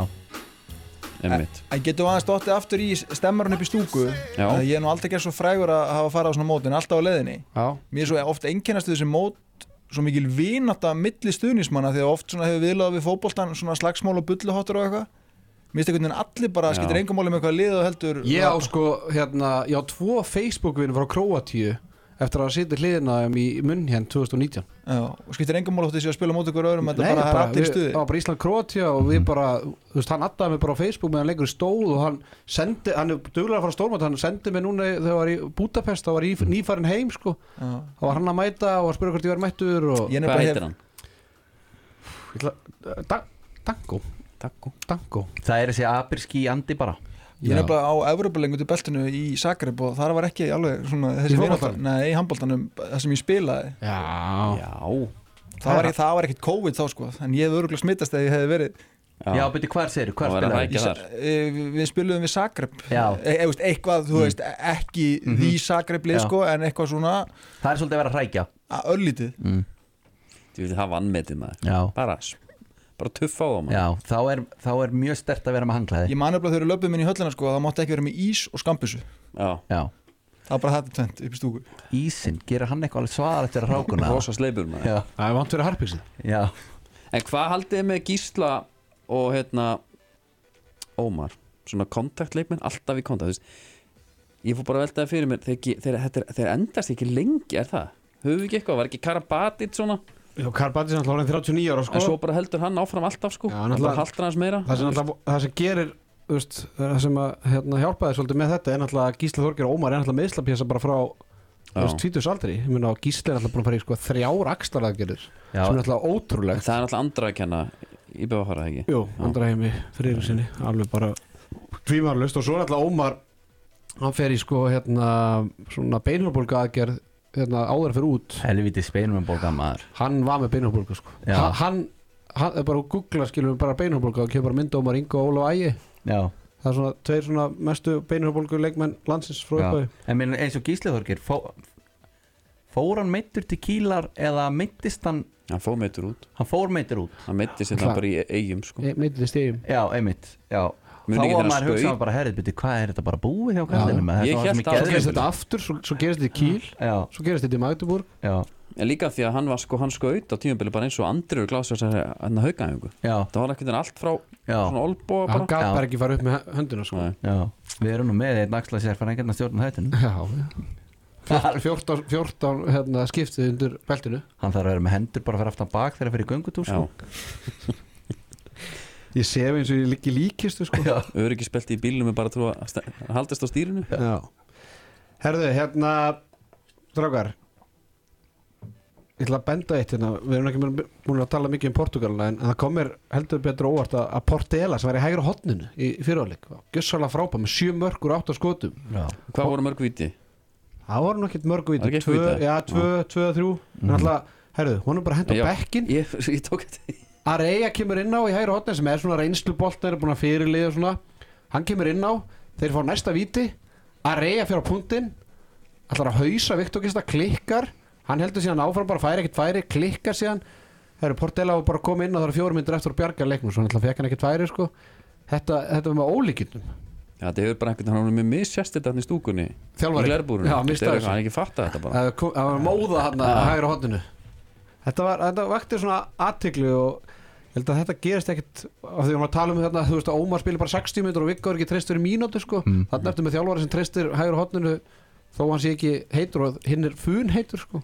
C: Einmitt.
D: En getum við aðeins dottið aftur í stemmarun upp í stúku
C: Já.
D: að Ég er nú aldrei gerð svo frægur að hafa farið á svona mót En alltaf á leiðinni
A: Já
D: Mér er svo ofta einkennast við þessi mót Svo mikil vinata milli stuðnismanna Þegar oft svona hefur viðlaðið við fótboltan Svona slagsmál og bulluhottur og eitthvað Mér finnst einhvern veginn allir bara
C: Já.
D: skiptir engum máli með eitthvað lið og heldur
A: Ég á sko, hérna, ég á tvo Facebook-vinu frá Króatíu eftir að sitja hliðina um í munn hérna 2019
D: Já, og skiptir engum máli hóttið sér að spila mót ykkur öðrum Þetta
A: Nei,
D: bara, bara allir í
A: við-
D: stuði
A: það var bara Ísland Króatíu og við bara, þú veist, hann addaði mig bara á Facebook meðan leikur stóð og hann sendi, hann er duglega að fara stórmátt, hann sendi mig núna þegar ég var í Budapest, þá var ég í- nýfarin heim sko,
D: Já.
A: þá var hann að mæta og var að spura hvort ég var mættur og
D: Ég nefnilega
C: hvað heitir
D: hef
C: hann?
A: ætla, eh, da, Dango,
C: Takko
A: Dango
B: það er þessi abirski andi bara
D: Ég er nefnilega á Evropalengu til beltinu í Zagreb og þar var ekki alveg svona þessi
A: Í
D: vinátta-
A: fótboltanum?
D: Nei, í handbóltanum, það sem ég spilaði
A: Já,
C: já,
D: Það var, ekki, það var ekkert COVID þá sko En ég hefði öruglega smittast eða ég hefði verið
C: já.
B: Já, beti, hvað segirðu, hvað
C: Það var að
B: spilaði?
C: rækja. Ekki
D: ég,
C: þar.
D: e, Við spiluðum við Zagreb e,
B: Já.
D: e, veist, Eitthvað, þú veist, ekki
C: Mhm.
D: mm -hmm. því Zagreb lið
B: Já.
D: sko En eitthvað svona
B: Það er svolítið að vera að rækja
D: a- örlítið
C: Mm. Þú vil hafa anmetið maður
B: Já,
C: bara, bara tuffa á það maður
B: já þá, er, þá er mjög stert að vera með hanglaði
D: Ég man eftir að þau eru löpum inn í höllina sko Það mátti ekki vera með ís og skambusu
C: já.
B: Já,
D: Það var bara þetta tvent upp í stúku
B: ísinn, gerir hann eitthvað alveg svaðalegt fyrir rákuna
C: rosa sleipur maður
B: Já,
A: það er vant fyrir harpixið
B: já,
C: en hvað haldið þið með Gísla og hérna Ómar, svona kontaktleikmenn alltaf í kontakt, þú veist ég fór bara að velta það fyrir mér, þeir, þeir, þeir, þeir endast ekki lengi, er það? höfum við ekki eitthvað, var ekki Karabatit svona
A: Já, Karl Battisson, hann er 39 ára sko
C: en svo bara heldur hann áfram alltaf sko
A: Já,
C: hann
A: náttúrulega-
C: bara haldur hans meira
A: það sem, alltaf, það sem gerir þú veist, það sem að hérna, hjálpa þér svolítið með þetta er náttúrulega að Gísla Þorgir og Ómar er náttúrulega meðslapjasa bara frá þú veist,
C: Já.
A: 20 aldri, ég meina að Gísla er náttúrulega búin að fara í sko, þrjár axlaraðgerðir
B: Já.
A: sem er náttúrulega
C: En
A: ótrúlegt
C: það er alltaf andra að kenna í befaðfara ekki
A: Jú, andra heimi fyrir sinni alveg bara tvímarlust og svo er náttúrulega Ómar hann fer í sko hérna svona beinhjálpbólga aðgerð hérna, áður en fyrir út
B: helviti speinum en bólga maður
A: hann var með beinhjálpbólga sko
B: Já.
A: Ha- hann, hann, er bara að googla skilum bara beinhjálpbólga og kemur bara mynda Ómar Ingo og Óla Ægi
B: Já,
A: það er svona tveir svona mestu beinhjálpbólgu leikmenn landsins frá
B: já.
A: upphau
B: En minn, eins og gísliðorgir fó, Fór hann meittur til kílar eða meittist hann
C: hann fóð meitur út,
B: Hann fór meittur út
C: hann meittist hérna
A: Hvað?
C: bara í eigum sko.
A: neytið í stegum
B: Já, einmitt, já
C: Muni
B: Þá
C: ekki
B: var
C: þegar
B: maður
C: skaut.
B: hugsaðan bara, herrið, byrju, hvað er þetta bara búið hjá kallinu?
C: Ég hélt að-
A: svo gerist þetta aftur, svo, svo gerist þetta í Kíl
B: Já,
A: svo gerist þetta í Magdeburg
B: já,
C: En líka því að hann var sko, hann skaut á tímabili bara eins og andriur glásið þessari hérna haugaæfingu.
B: Já,
C: Það var ekkert en allt frá
B: já,
C: svona
A: Hann
C: olbóa bara.
A: gaf
B: Já.
A: bara ekki fara upp með hönduna sko
C: Nei.
B: já Við erum nú með einn axla sér fyrir einhvern að stjórna hættinu
A: Já, já 14, 14 hérna, skiptið undir beltinu
B: Hann þarf að vera með hendur bara fyrir aftan bak þegar fyrir göngutúr
C: Já,
B: sko.
A: Ég sef eins og ég liggi líkistu sko
B: Já.
C: öryggisbelti í bílnum er bara að trúa að ste- að haldast á stýrinu.
A: Já Herðu, hérna Drákar Ég ætla að benda eitt hérna Við erum ekki búin- búin að tala mikið um Portugalina En en það kom mér heldur betur óvart að, að Portela sem var í hægra hotninu í fyrirháleik Gjössalega frábæð með sjö mörgur átt á skotum
B: Já.
C: Hvað voru mörg víti?
A: Það voru nú ekkert mörg
C: Var
A: víti
C: ekki eitt
A: Tvö,
C: víti? Mhm.
A: já, tvö, tvö, þrjú En alltaf, herðu, hún er bara hent á
C: Já.
A: bekkin
C: Ég, ég tók þetta í.
A: Areia kemur inn á í hægra hotninu sem er svona reynslubolt er búin að fyrirliða og svona Hann kemur inn á, þeir fá næsta víti Areia fyrir á punktinn ætlar að hausa Viktor Gista klikkar hann heldur síðan áfram bara færi ekkert færi klikkar síðan Herru, Portela var bara að koma inn og það eru fjórum myndir eftir að bjarga leiknum svo hann ætlar að fekk hann ekkert færi sko. þetta, þetta var með ólíkindum
C: Já, þetta hefur bara einhvern veginn, hann var mjög missjæst þetta hann í stúkunni.
A: Þjálfari.
C: Í glerbúrunni.
A: Já, missti
C: Þetta er-
A: þessu.
C: Hann er ekki fatta þetta bara.
A: það kom- það var móða hann að hægra hodninu þetta, var, þetta vakti svona aðtikli og ég held að þetta gerist ekkert af því að maður tala um þetta þú veist að Ómar spilir bara 60 minnur og Viggo er ekki treystur í mínútu sko.
B: Mm.
A: þannig eftir með þjálfari sem treystur hægra hodninu þó hann sé ekki heitur og hinn er fun heitur sko.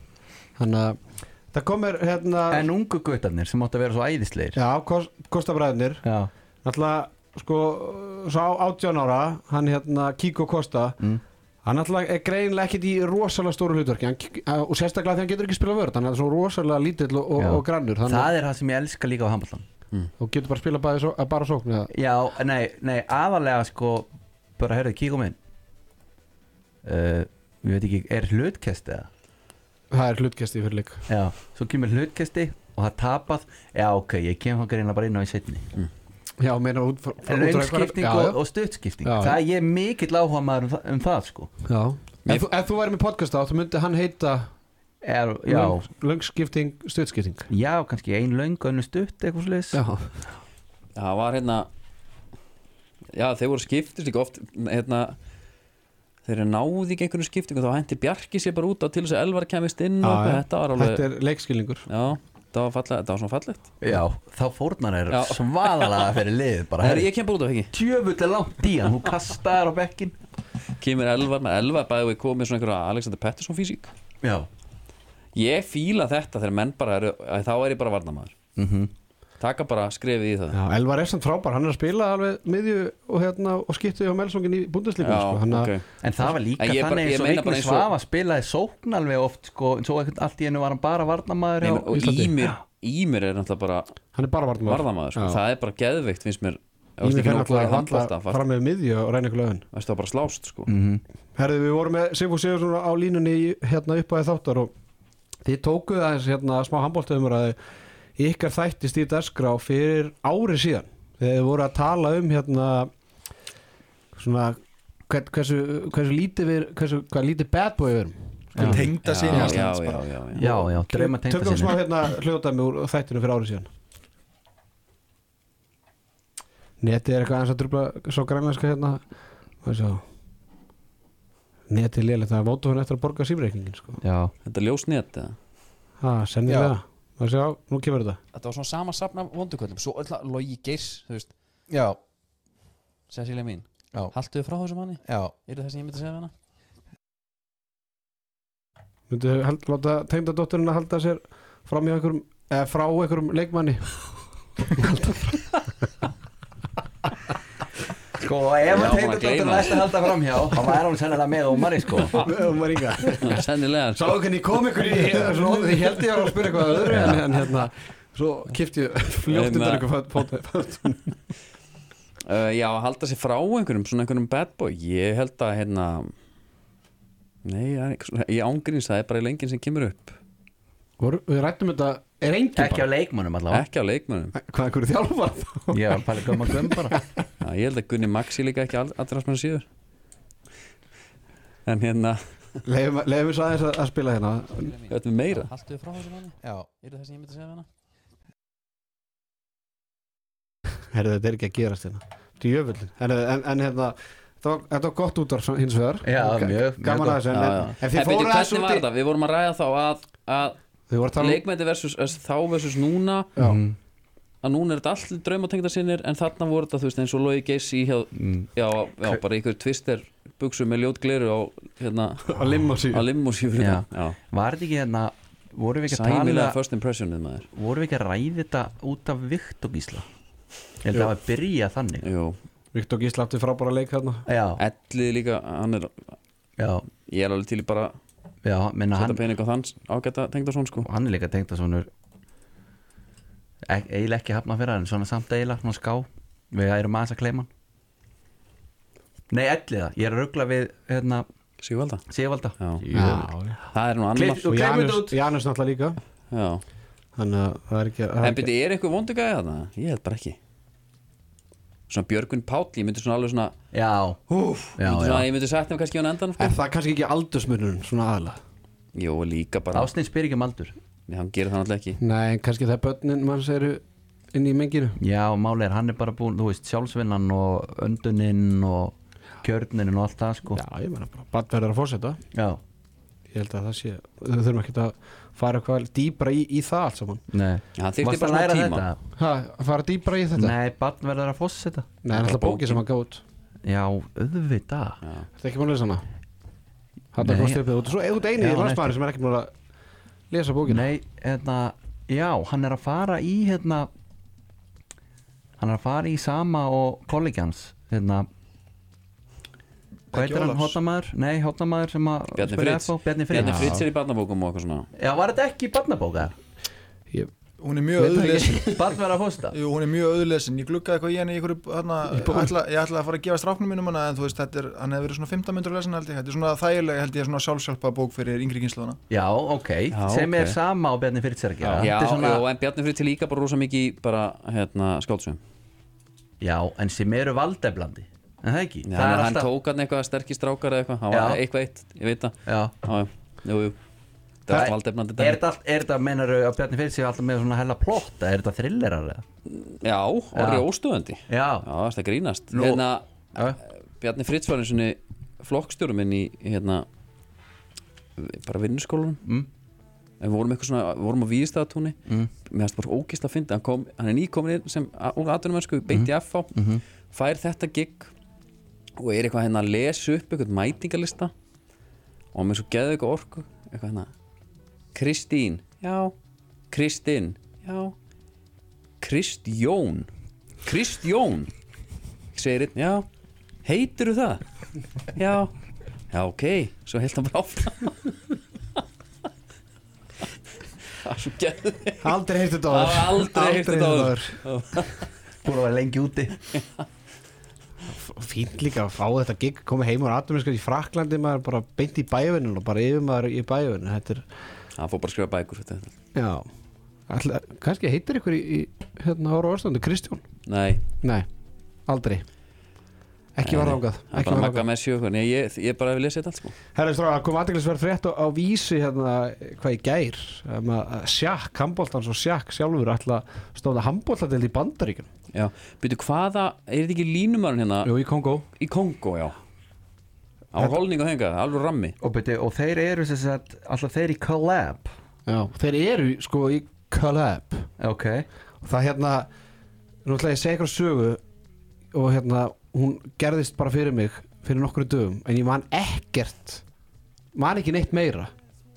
A: þannig að það komir hérna
B: En ungu gautarnir sem átti að vera svo æðisleir
A: Já, kost, Kostabræðinir
B: Já,
A: Náttúrulega, sko, sá 18 ára Hann hérna, Kiko Kosta
B: Mm.
A: Hann náttúrulega er greinilega ekkit í rosalega stóru hlutverki hann, Og sérstaklega þegar hann getur ekki spilað vörð Hann er svo rosalega lítill og, og,
B: Já.
A: og grannur Þannig
B: það er það sem ég elska líka á handbóltan
A: og getur bara spilað bæði, svo, bara sókn eða.
B: Já, nei, nei, aðalega sko bara heyrðu, kíkum inn uh, Ég veit ekki, er hlutkest eða?
A: Það er hlutkesti fyrir leik
B: Já, svo kemur hlutkesti og það tapað Já, ok, ég kem þá greinlega bara inn á í setni
A: Já, meina út frá frá- út frá hverju-
B: Raunskipting
A: Já, já.
B: og, og stuttskipting
A: Já, já.
B: Það ég er mikill áhuga maður um, það- um það sko
A: Já. Ef, þú- ef þú væri með podcast á, þú myndi hann heita
B: er, Já,
A: löng, Löngskipting, stuttskipting
B: já, kannski ein löng, önnu stutt eitthvað sliðis
A: Já,
C: Já, það var hérna Já, þeir voru skiptist ekki oft hérna, þeir eru náði ekki einhvern skiptingu þá hendi Bjarki sér bara út á til þess að Elvar kemist inn og
A: Já,
C: eitthvað.
A: já.
C: þetta var alveg
A: þetta er leikskilningur
C: Já, það var, fallega, það var svona fallegt
B: já þá fórnar er
C: Já.
B: svaðalega fyrir liðið bara
C: Her,
B: herri,
C: Ég kem bara út af ekki
B: Tjöfull er langt í hann, hún kastaðar á bekkin
C: Kemur Elvar með Elvar bæði við komið svona einhverja Alexander Pettersson físík
B: Já,
C: Ég fíla þetta þegar menn bara eru að þá er ég bara varnamaður -hmm. Taka bara skrefið í það
A: Mhm. Já, Elvar er samt frábær, hann er að spila alveg miðju og, hérna, og skiptu hjá Melsungin í búndisleikum sko. hann að-
C: ok.
B: en það var líka
C: En ég bara-
B: þannig
C: ég
B: eins og
C: meina bara
B: Vigni
C: eins og-
B: Svafa spilaði sókn alveg oft sko, en svo ekkert allt í hennu var hann bara varnamaður
C: Nei,
B: hjá
C: menn, og
A: Íslandi.
C: Ímir, Ímir er náttúrulega bara
A: hann er bara varnamaður
C: varnamaður sko.
A: Já.
C: Það er bara geðveikt finnst mér Ef þú ert
A: Ími
C: ekki
A: fyrir
C: nóg góður í
A: alltaf
C: handbolta,
A: að fara með miðju og reyna ykkur lögin
C: varstu að bara slást sko.
A: Mhm. Herðu, við vorum með Sifu Sigurðsson á línunni í- hérna upp á þáttar og þið tókuð aðeins hérna smá handbóltöðumur að ykkar þættist í dagskrá fyrir ári síðan þegar þið voru að tala um hérna svona hvern- hversu, hversu lítið við hversu, hvað lítið bad boy við erum
D: Tengda sko.
C: Já,
D: sín
C: já,
G: sko.
C: já, já, já.
B: Já, já, drauma tengda
A: Tökum smá
B: sinni
A: hérna hljóðdæmi úr þættinu fyrir ári síðan Netið er eitthvað aðeins að drupla svo grænlænska hérna og svo Netið er lélega, það er vótu hún eftir að borga símreikningin sko.
B: Já,
C: Þetta er ljósnett eða?
A: Ha, sennir það og svo, nú kemur þetta
G: þetta var svona sama safn af vonduköllum svo öll að logi geirs, þú veist,
D: já,
G: Cecilia mín
D: Já.
G: haltu frá þessum manni,
D: já
G: eru það sem ég myndi segja við hana
A: Myndu held, láta tengdadótturinn að halda sér fram hjá einhverjum eða frá einhverjum leikmanni
B: sko,
C: Já,
B: ef hann
C: maður
B: tegur
C: gleyma
B: dóttur næst að halda fram hjá þá var hann sennilega með ómari sko
A: um
C: Sennilega sko.
A: Sáðu hvernig kom ykkur í svona orðið, ég held ég var að spyrja eitthvað að öðru en, en hérna, svo kipti ég fljótt
C: Hérna.
A: undan ykkur fótum
C: uh, Já, að halda sér frá einhverjum Svona einhverjum bad boy Ég held að hérna Nei, það er ekki svona- ég ángríns Það er bara lengin sem kemur upp
A: Voru, við rættum þetta, er engin
B: Ekki af leikmannum allavega
C: Ekki á leikmönnum
A: Hvað einhverju þjálfar þá?
B: Ég var bara gömma göm bara
C: Já, Ég held að Gunni Maxi líka ekki all- allra sem hann síður En hérna
A: Leifum leifum við svo aðeins að, að spila hérna
G: Cecilia mín,
C: Þetta er meira
G: haltu frá þessum manni,
D: já,
G: eru það sem ég myndi segja við hana
A: Herðu þetta er ekki að gerast hérna Djöfullin Herðu, en, en hérna Þetta var, þetta var gott útvarf svo- hins vegar
B: Já,
A: Ok,
B: mjög, mjög
A: Gaman
B: gott.
A: að þessu en-
C: Já, já.
A: en- En
C: En
A: þið
C: byrju,
A: fóruð
C: hvernig
A: þessu
C: var
A: út í
C: þetta? Við vorum að ræða þá að, að
A: Þau voru að tala um
C: leikmæti versus eh, þá versus núna
A: Já.
B: Mm.
C: að núna er þetta allir draumatengda sinnir en þarna voru þetta þú veist eins og logi geiss í hjá,
B: Mm.
C: já, já, bara ykkur tvister buksu með ljót gleru á hérna,
A: að limma
C: á
A: síðan
C: limmus í fyrir
B: Já.
C: já.
B: Var þetta ekki hérna vorum við ekki að tala um
C: sæmilega first impressionið maður
B: vorum við ekki að ræði þetta út af Viktor Gísla Ég held að það var að byrja þannig
C: Jú.
A: Viktor Gísla átti frábæra leik þarna
B: Já,
C: Ellið líka, hann er
B: já,
C: ég er alveg til í bara að
B: já menna
C: setja
B: hann,
C: pening á þann ágæta tengda svona sko
B: hann er líka tengt að svona eiginlega ekki hafna fyrir hann svona samt eiginlega, svona ská við erum aðeins að kleima hann Nei, elliða, ég er að ruggla við hérna,
C: Sigvalda
B: Sigvalda
C: já.
A: Já.
C: það er nú annar
A: Og Janus, Janus náttúrulega líka
C: já.
A: Þannig að það er ekki, það
C: en
A: er ekki.
C: byrju, er eitthvað vondugæði þarna? ég held bara ekki svona Björgvin Páll, ég myndi svona alveg svona
B: Já,
C: Úf,
B: Já,
C: myndi svona,
B: já.
C: ég myndi setja hann kannski á endan sko.
A: Er það kannski ekki aldursmunurinn svona aðalega?
C: Jó, líka bara
B: Ásnið spyr ekki um aldur
C: Nei, hann gerir það náttúrulega ekki
A: Nei, en kannski það er börnin manns eru inn í menginu
B: Já, málið er, hann er bara búinn, þú veist, sjálfsvinnan og önduninn og kjörninn og allt það, sko
A: Já, ég meina bara, bann verður að fórseta
B: Já.
A: Ég held að það sé, þau þurfum ekki að fara eitthvað dýbra í, í það allt saman
B: Nei
C: Hann þyrfti
B: Varstu
C: bara
B: að
C: svona
B: læra
C: tíma
A: Ha, að fara dýbra í þetta?
B: Nei, barn verður að fossa þetta
A: Nei, það er alltaf bóki sem að gá út
B: Já, auðvitað Já,
A: Þetta er ekki búin að lesa hana Þetta
B: Nei.
A: er komst uppið út Svo eða út eini
B: Já,
A: í landsmaður sem er ekki búin að lesa bókina
B: Nei, hérna Já, hann er að fara í, hérna Hann er að fara í sama og kollegi hans Hérna Hvað
D: Ekki
B: heitir hann,
D: Ólafs.
B: hóttamæður? Nei, hóttamæður sem að
C: Bjarni
B: spilar í
C: Fritz.
B: FH, Bjarni Fritz
C: Bjarni Fritz er í barnabókum og eitthvað svona
B: Já, var þetta ekki barnabóka?
A: Ég,
D: hún er mjög auðlesin
B: Barn verður að fossa
D: Jú, hún er mjög auðlesin, ég gluggaði eitthvað í henni í einhverju, hana, ætla, ég ætla að fara að gefa stráknum mínum hana, en þú veist, þetta er, hann hefur verið svona 15 myndur lesin held ég, þetta er svona þægilega held ég, svona sjálfsjálpa bók fyrir yngri kynsluðana.
B: Já, ok,
C: Já,
B: sem
C: ok.
B: er sama á Bjarni Fritz er að gera
C: Já,
B: Þetta er svona,
C: já, en Bjarni Fritti líka bara rosa mikið í bara, hérna, skáldsum
B: já, en sem eru valdeflandi En það ekki,
C: Já,
B: það er
C: hann
B: alltaf
C: tók hann eitthvað sterkir strákar eða eitthvað Hann
B: Já.
C: var eitthvað eitt, ég veit það
B: já.
C: Já, já, jú, jú Það er alltaf valdefnandi
B: Er
C: dag
B: þetta, allt- er þetta meinaru að Bjarni Fritz er alltaf með svona hella plott eða Er þetta thrillerar eða?
C: Já, og
B: Já.
C: rjóstuðandi Já,
B: Já,
C: það er grínast
B: Nú.
C: Hérna,
B: já,
C: Bjarni Fritz var eins og flokkstjórum minn í, hérna bara vinnuskólanum
B: Mm.
C: En við vorum eitthvað svona, við vorum á víðstæðatúni mm. Mér fannst bara ógisla að finna hann, kom, hann er nýkomin inn sem úr atvinnumennsku beint í FH Fær þetta gig Og er eitthvað hérna að lesa upp eitthvað mætingalista Og hann með svo geðu eitthvað orku Eitthvað hérna Kristín, já Kristinn, já Kristjón Kristjón Segir einn, já Heitirðu það? Já Já, ok, svo held hann bara áfram Það er svo geð
A: aldrei heyrti þetta
C: Það var aldrei heyrt þetta áður.
B: búin að vera lengi úti
A: Fínt líka að fá þetta gig komið heim úr atuminskvæð í Fraklandi maður bara beint í bæjavinin og bara yfir maður í bæjavinin Þetta er,
C: Það fór bara að skrifa bækur þetta. er-
A: já Alla, Kannski heitir ykkur í, í hérna ára orðstöndu Kristján?
C: Nei,
A: Nei, aldrei Ekki var ágað
C: það er bara magga með sjö eitthvað. Nei, ég, ég bara hef lesið þetta allt sko
A: Herra stráða, kom aðdeglisverð frétt á, á vísi hérna, hvað ég gær um að að Sjakk, handbóltans og Sjakk sjálfur ætla að stóða handbóltadeld í Bandaríkjum
C: Já, byrju hvaða, er þetta ekki línumörn hérna
A: Jú, í Kongó
C: í Kongo, já Á holningu henga, alveg rammi
B: og, beti, og þeir eru sem sagt Alltaf þeir í collab
A: Já, þeir eru sko í collab
B: Ok,
A: og það hérna nú ætla ég að segja ykkur sögu og hérna, hún gerðist bara fyrir mig fyrir nokkru dögum, en ég man ekkert man ekki neitt meira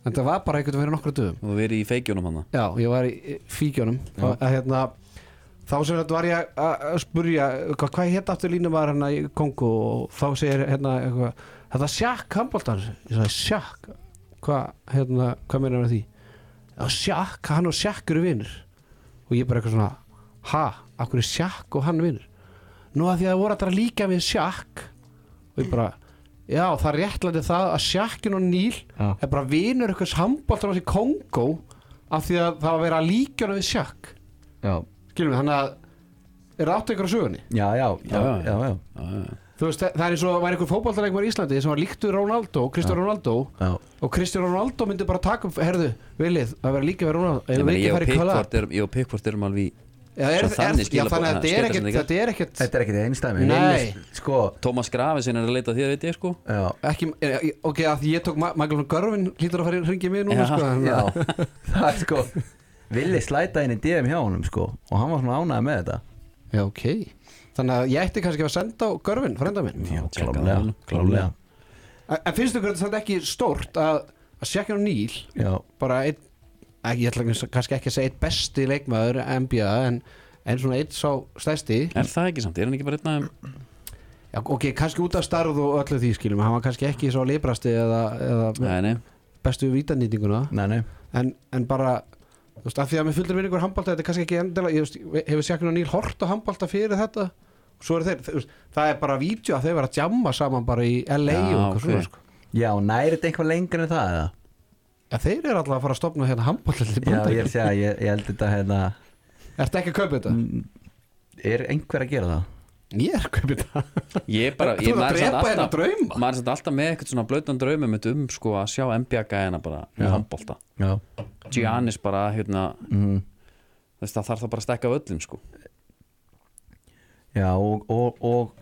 A: en það var bara einhvern fyrir nokkru dögum
C: og verið í feikjónum hann
A: Já, ég var í í fíkjónum að, að, hérna, Þá sem þetta var ég að- að að spurja hvað, hvað hétt aftur línum var hérna í Kongo og þá segir hérna eitthvað, þetta sjakk handbóltan ég sagði sjakk hvað, hérna, hvað meina með því já sjakk, hann og sjakk eru vinnur og ég bara eitthvað svona ha, af hverju er sjakk og hann vinnur nú að því að það voru alltaf líka við sjakk og ég bara já það réttlæti það að sjakkin og Níl
B: Já.
A: er bara vinnur einhvers handbóltan í Kongo af því að það var að vera líkjana við sjakk
B: já,
A: Skilum við, þannig að er átt ykkur á sögunni
B: já, já, já,
C: Já, já.
B: já, já.
A: Þú veist, það það er eins og það væri einhver fótballtalegmar í Íslandi sem var líktur Ronaldo, Kristján Ronaldo
B: Já.
A: og Kristján Ronaldo myndi bara taka upp herðu, vilið, að vera líka við Ronaldo
C: Ég
A: ef við
C: meina,
A: ekki
C: ég og
A: færi kvöla
C: Pickford erum- ég og Pickford erum alveg í
A: Já, er,
C: Svo
A: er,
C: þannig
A: já
C: skilaboð-
A: þannig að þetta er
C: skeytasendingar.
A: ekkert þetta er ekkert
B: Þetta er ekkert einstæmi
A: Nei.
B: Sko,
C: Tómas Grafisinn er að leita að því að veit ég sko
B: já
A: ekki, eh, eh, ok, að því ég tók Ma- Michael von Görvin hlýtur að fara að ringja mig núna
C: Já,
A: sko, þannig
B: Já,
A: að-
B: það er sko Villi slæta inn í DM hjá honum sko og hann var svona ánægð með þetta
A: já, ok þannig að ég ætti kannski að senda á Görvin frenda minn
B: Já,
C: tjekka
B: klárlega,
C: það nú.
B: klárlega.
A: en en finnst þú hvernig þetta er ekki stórt að, að sjekka á Níl
B: Já,
A: bara einn, ekki, ég ætla ekki- kannski ekki að segja einn besti leikmaður NBA en, en svona einn sá stærsti
C: Er það ekki samt, er hann ekki bara einna
A: já, ok, kannski út af starð og öllu því skilum hann var kannski ekki svo librasti eða, eða
C: Nei, nei,
A: bestu vítanýtinguna
B: nei, nei
A: en, en bara þú veist, af því að mér fylgdur vinningur handbalta þetta er kannski ekki endilega, ég veist, hefur sjakkin og Níl hort á handbalta fyrir þetta svo er þeir, þú veist, það er bara vídeo að þeir vera að jamma saman bara í LA
C: Já,
A: og eitthvað
C: ok.
A: svona sko.
B: Já, næri þetta eitthvað lengur en það eða?
A: ja, þeir eru alltaf að fara að stopna hérna handbalta til
B: Já, ég er
A: bandar,
B: að segja, ég, ég held þetta hérna
A: ertu ekki að kaupa þetta?
B: Mm, Er einhver að gera það?
A: ég er að kaupa þetta
C: ég bara
A: Þú
C: ég
A: ert að
C: maður er samt
A: drepa hérna
C: alltaf-
A: drauma.
C: Maður er samt alltaf með eitthvað svona blautan draumum um sko að sjá NBA gæðina bara í handbolta
B: Já
C: Giannis bara, hérna,
B: mm.
C: þú veist það þarf það bara að stekka völlin sko
B: Já, og, og, og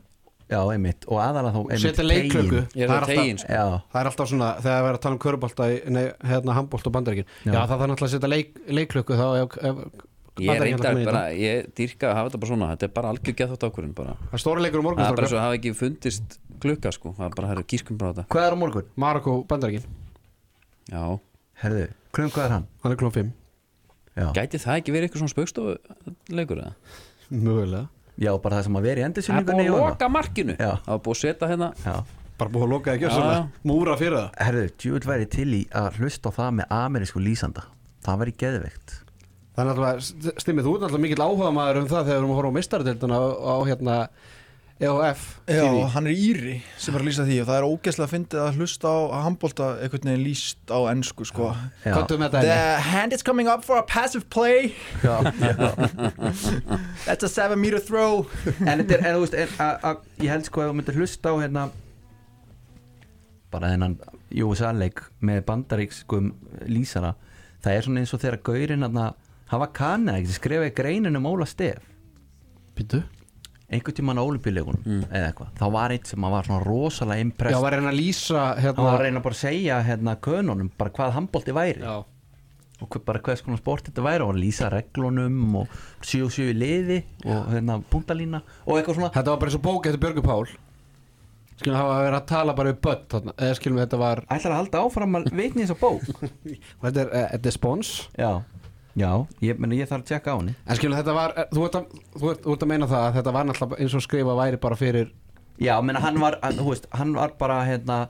B: Já, einmitt, og aðalega þá einmitt
A: setja leiklöku
B: teginn.
C: Ég er
A: það
C: það
A: er
C: tegin
A: alltaf-
C: sko
B: Já,
A: það er alltaf svona þegar við erum að tala um körubolta í- nei, hérna handbolta og bandaríkin já.
B: Já.
A: það þarf náttúrulega að setja leik, leiklöku þá ef, ef,
C: Ég
A: Bandaríkin
C: reyndar
A: hérna koma í
C: bara, ég dýrka að hafa þetta bara svona Þetta er bara algjör geðþátt ákvörðin bara
A: þetta. það er stóri leikur um
C: Það er bara
A: morgunstrákar
C: svo að hafa ekki fundist klukka sko Það er bara, herru, gískum bara á þetta
B: hvað er á morgun?
A: Marokko bandaríkin,
C: Já,
B: Herðu, klum hvað er hann?
A: hann er klón 5
B: Já,
C: gæti það ekki verið eitthvað svona spaukstofu leikur eða?
A: mögulega
B: já bara það sem að vera í
C: Það er búið
B: endursynningunni
C: að
B: og annað.
C: loka markinu
B: Já.
C: Það er búið að setja hérna
B: Já,
A: bara búið að loka það
C: Já,
A: gjörsamlega, múra fyrir það
B: herðu, djúvill væri til í að hlusta á það með amerísku lýsanda Það væri geðveikt
A: Það er náttúrulega, stimmið þú ert náttúrulega mikill áhuga maður um það þegar við erum að horfa á mistardelduna á, á hérna EOF
D: Já, hann er Íri sem er að lýsa því og það er ógeðslega að fyndið að hlusta á að handbólta einhvern veginn lýst á ennsku sko.
B: Já.
A: Kvartum með þetta
D: The hand is coming up for a passive play That's a 7 meter throw
B: en þetta er, en þú veist en, a, a, ég held sko að þú myndir hlusta á hérna bara þennan USA-leik með bandaríkskum lýsara það er svona eins og þegar gaurin hérna hafa kanna, ekki, skrifaði greinin um Óla Stef
A: Býtu
B: einhvern tímann á olubíleikunum eða eitthvað, þá var eitt sem að var svona rosalega
A: Mm. Já,
B: impress,
A: var að reyna að lýsa
B: hann
A: hérna
B: var að reyna bara að segja hérna könunum, bara hvað handbólti væri
A: Já,
B: og hver, bara hvers konar sport þetta væri og hann lýsa reglunum og 7-7 í liði og hérna punktalína og eitthvað svona
A: þetta var bara eins og bók eftir Björgur Pál Skilum það var að vera að tala bara við börn þarna Eða skilum þetta var
B: ætlar að halda áfram að vitni þess að bók
A: Þetta er, eh, þetta er spons
B: já, já, ég, meni, ég þarf að tjekka á henni
A: En skilum þetta var, eh, þú ert að, þú ert, þú ert að meina það að Þetta var náttúrulega eins og skrifa væri bara fyrir
B: já, meni, hann var, hann, þú veist, hann var bara hérna,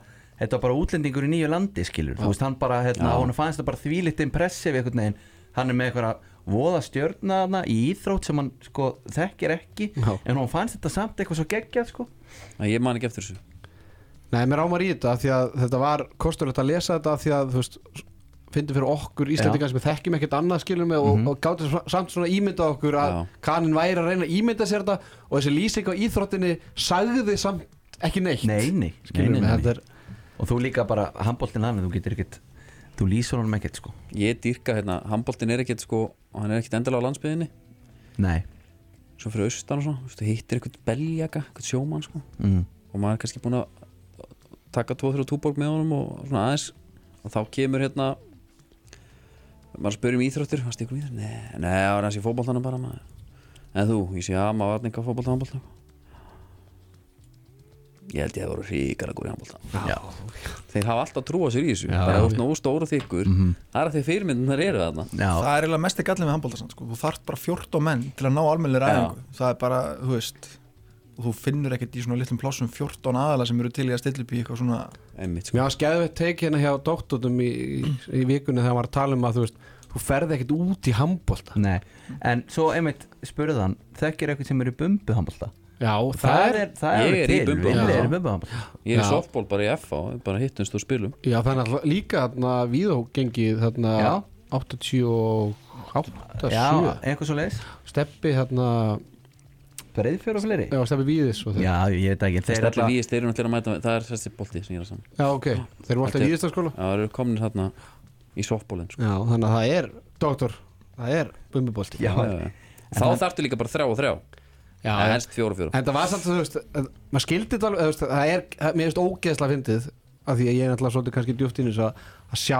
B: þetta var bara útlendingur í nýju landi skilur, þú veist, hann bara, hérna,
C: Já.
B: hann fannst það bara þvílitt impressif einhvern veginn hann er með eitthvað voða stjörnaðna í íþrótt sem hann sko þekkir ekki
A: Já.
B: en hún fannst þetta samt eitthvað svo geggjað sko
C: Nei, Ég man ekki eftir þessu
A: Nei, mér ámar í þetta af því að þetta var kosturlegt að lesa þetta af því að þú veist fyndi fyrir okkur Íslandingar sem við þekkjum ekkert annað skilum við
B: Mhm.
A: og, og gáttum svo- samt svona ímynda okkur að
C: Já.
A: kaninn væri að reyna að ímynda sér þetta og þessi lýsing á íþróttinni sagði samt ekki neitt
B: nei, nei, nei,
A: skilum
B: nei,
A: við, þetta
B: nei.
A: er
B: og þú líka bara, handbóltin hann þú getur ekkert, þú lýsur honum ekkert sko
C: Ég dýrka hérna, handboltin er ekkert sko og hann er ekkert endilega á landsbyðinni
B: nei,
C: Svo fyrir austan og svona, þú veist, þú hittir einhvern beljaka, einhvern sjómann sko
B: mm.
C: og maður er kannski búin að taka 2-3 túborg með honum og svona aðeins og þá kemur hérna maður spyrir um íþróttir, fannst ykkur um íþróttir? Nei, nei, það var aðeins í fótboltanum bara maður En þú, ég sé að maður var neitt á fótbolta og handbolta Ég held ég að það voru ríkara góri handbolta Já Þeir hafa alltaf trúa sér í þessu Já, Mhm. bara út nógu stóra þykkur Það er að þeir fyrirmyndunar eru þarna
B: já,
D: Það er eiginlega mest ekki allir með handbólta sko. þú þarft bara 14 menn til að ná almennlega ræðingu það er bara, þú veist og þú finnur ekkert í svona litlum plássum 14 aðala sem eru til í að stilla upp í eitthvað svona
C: Einmitt, sko.
A: Mér var skæðveitt teik hérna hjá dóttutum í, í, í vikunni þegar hann var að tala um að þú veist þú ferði ekkert út í handbólta
B: Nei, en svo einmitt spurði hann Þekkir eitthvað sem er í bumbuhambolta
A: Já, það, er
B: það
C: Ég
B: alveg
C: er í
B: til,
C: bumbuhambolta.
B: Villi er
A: Já.
B: í bumbuhambolta
C: Ég er
A: Já.
C: í softball bara í FA bara hittumst og spilum
A: Já, það er náttúrulega líka þarna víðógengið þarna
B: Já.
A: 88
B: Já,
A: 7
B: eitthvað svo leiðis
A: Steppi hérna
B: Breiðfjör og fleiri
A: Já, Steppi Víðis og þeir
B: Já, ég veit ekki
C: Þeir
B: Þeir
C: allir
B: alltaf
C: víðist, þeir eru náttúrulega að mæta með- Það er þessi bolti sem ég er að saman
A: Já, ok, þeir eru alltaf
C: Þetta
A: í
C: er-
A: Víðistaskóla
C: Já, það eru komnir hérna í softballin sko.
A: Já, þannig að það er, doktor, það er bumbubolti
B: Já,
C: Já, já. þá þarftu líka bara þrjá og þrjá
A: Já,
C: eða helst fjóra og fjóra
A: En það var samt, þú veist, en maður skildi þetta alveg, þú veist, það er, það- mér finnst ógeðslega fyndið, af því að ég er náttúrulega svolítið kannski djúpt inn í þessu að, að sjá,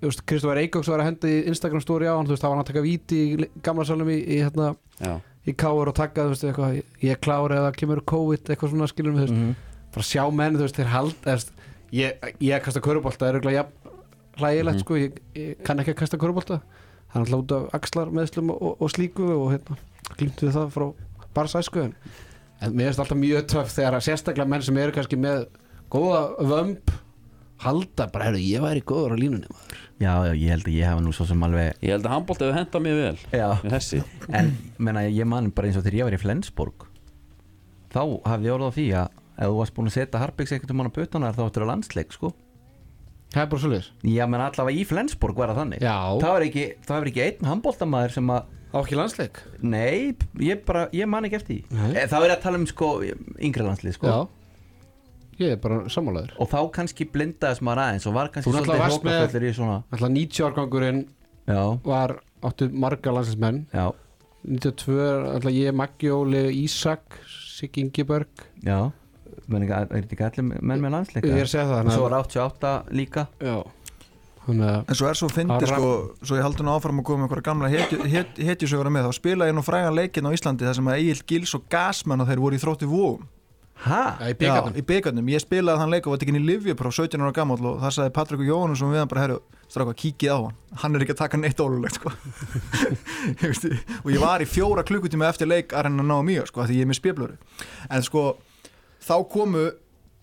A: þú veist, Kristófer Eikóks var að henda í Instagram story á hann, þú veist, það var hann að taka víti í le- gamla salum í, í hérna,
C: já,
A: í káur og taka, þú veist, eitthvað, ég er klár eða kemur COVID, eitthvað svona skilur mig, þú veist,
B: Mhm.
A: bara sjá menn, þú veist, þeir hald, þú veist, ég, ég að kasta körubólta, er auðvitað jafn hlægilegt, sko, ég, ég kann ekki að kasta körubólta, hann hláta axlar meðslum og, og slíku og hérna, glýmt við það frá barsæsku, en, en mér finnst alltaf mjög töff þegar að sérstaklega menn sem eru kannski með góða vömb, halda bara, herru, ég væri góður á línunni, maður.
B: já, já, ég held að ég hafa nú svo sem alveg
C: ég held að handbólt hefur hendað mér vel
B: Já.
C: með þessi
B: En menna, ég man bara eins og þegar ég var í Flensborg Þá hafði ég orðað á því að Ef þú varst búin að setja Harpiks ekkert um hann á bötunar Þá áttur að landsleik, sko
A: Það er bara svolítið.
B: Já, menn allavega í Flensborg var það þannig
A: Já.
B: Það var ekki, það var ekki einn handbóltamaður sem að
A: Á ekki landsleik?
B: Nei, ég bara, ég man ekki eftir því
A: Nei.
B: Eh, Það er að tala um, sko, yngri landslið, sko
A: Já. Ég er bara sammálaður.
B: Og þá kannski blindaðis maður aðeins Og var kannski
A: Þú náttúrulega varst með-
B: hrókaföllur í svona
A: Alltaf 90 árgangurinn
B: Já,
A: var, áttu marga landslismenn,
B: já,
A: 92 er alltaf ég, Maggi Óli, Ísak Siggi Ingeberg
B: já Menn ekki, er þetta ekki allir menn með landsleika?
A: Ég er að segja það,
B: Og
A: þannig
B: svo
A: að-
B: var 88 líka
A: Já Þannig að
D: En svo er svo fyndi
A: Ára.
D: sko, svo ég haldi nú áfram að koma með einhverja gamla hetju- het- hetjusöguna með, þá spila ég nú frægan leikinn á Íslandi þar sem að Egil Gils og Gasman og þeir voru í þrótti vóum
B: Hæ?
A: í byggarnum
D: í byggarnum, ég spilaði þann leik og var tekinn í Livjapróf 17 ára gammal og það sagði Patrik og Jóhannes og við hann bara, herru, stráka, kíkið á hann hann er ekki að taka neitt ólulegt sko. Ég veist, og ég var í fjóra klukkutíma eftir leik að reyna að ná mjög sko, af því ég er með spjöflöru en sko, þá komu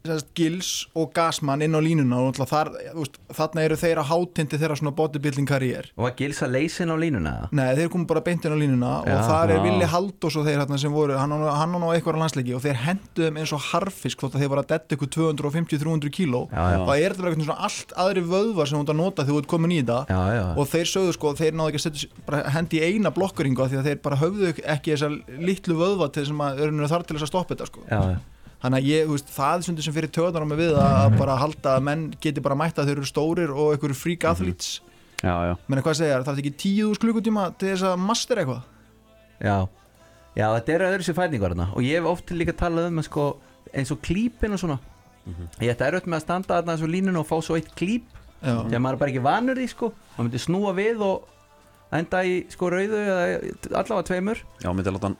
D: sem sagt, Gils og Gasman inn á línuna og náttúrulega þar, þú veist, þarna eru þeir á hátindi þeirra svona bodybuilding karriér
B: Og var Gils að leysin á línuna? eða?
D: Nei, þeir komu bara beint inn á línuna
B: Já,
D: og þar er
C: já.
D: Vili Haldós og þeir hérna sem voru, hann á- hann á eitthvað landsleiki og þeir henduðum eins og harfisk þótt að þeir var að detta ykkur 250-300 kíló
B: Já, já.
D: og það er þetta bara eitthvað svona allt aðri vöðvar sem hún að nota þegar þú ert komin í þetta
B: Já, já.
D: og þeir sögðu sko að þeir náðu ekki að setja sig- bara hendi í eina blokkuringu af því að þeir bara höfðu ekki þessa litlu vöðva til sem að örnur þar til þess að stoppa þetta sko
B: já, já.
D: þannig að ég, þú veist, það er svolítið sem fyrir töðunar á mig við að bara halda að menn geti bara mætt að þeir eru stórir og einhverju freak
B: Mhm.
D: athletes
C: já, já,
D: menn hvað segja, það er ekki tíu úr klukkutíma til þess að master eitthvað
B: já. já, þetta eru öðru sér fætingar þarna og ég hef oft líka talað um að, sko, eins og klípin og svona
A: Mhm.
B: Ég ætti erfitt með að standa þarna eins og línuna og fá svo eitt klíp
D: Já.
B: þegar maður er bara ekki vanur því sko maður myndi snúa við og enda í sko rauðu eða allavega tveimur
C: já, myndi að láta hann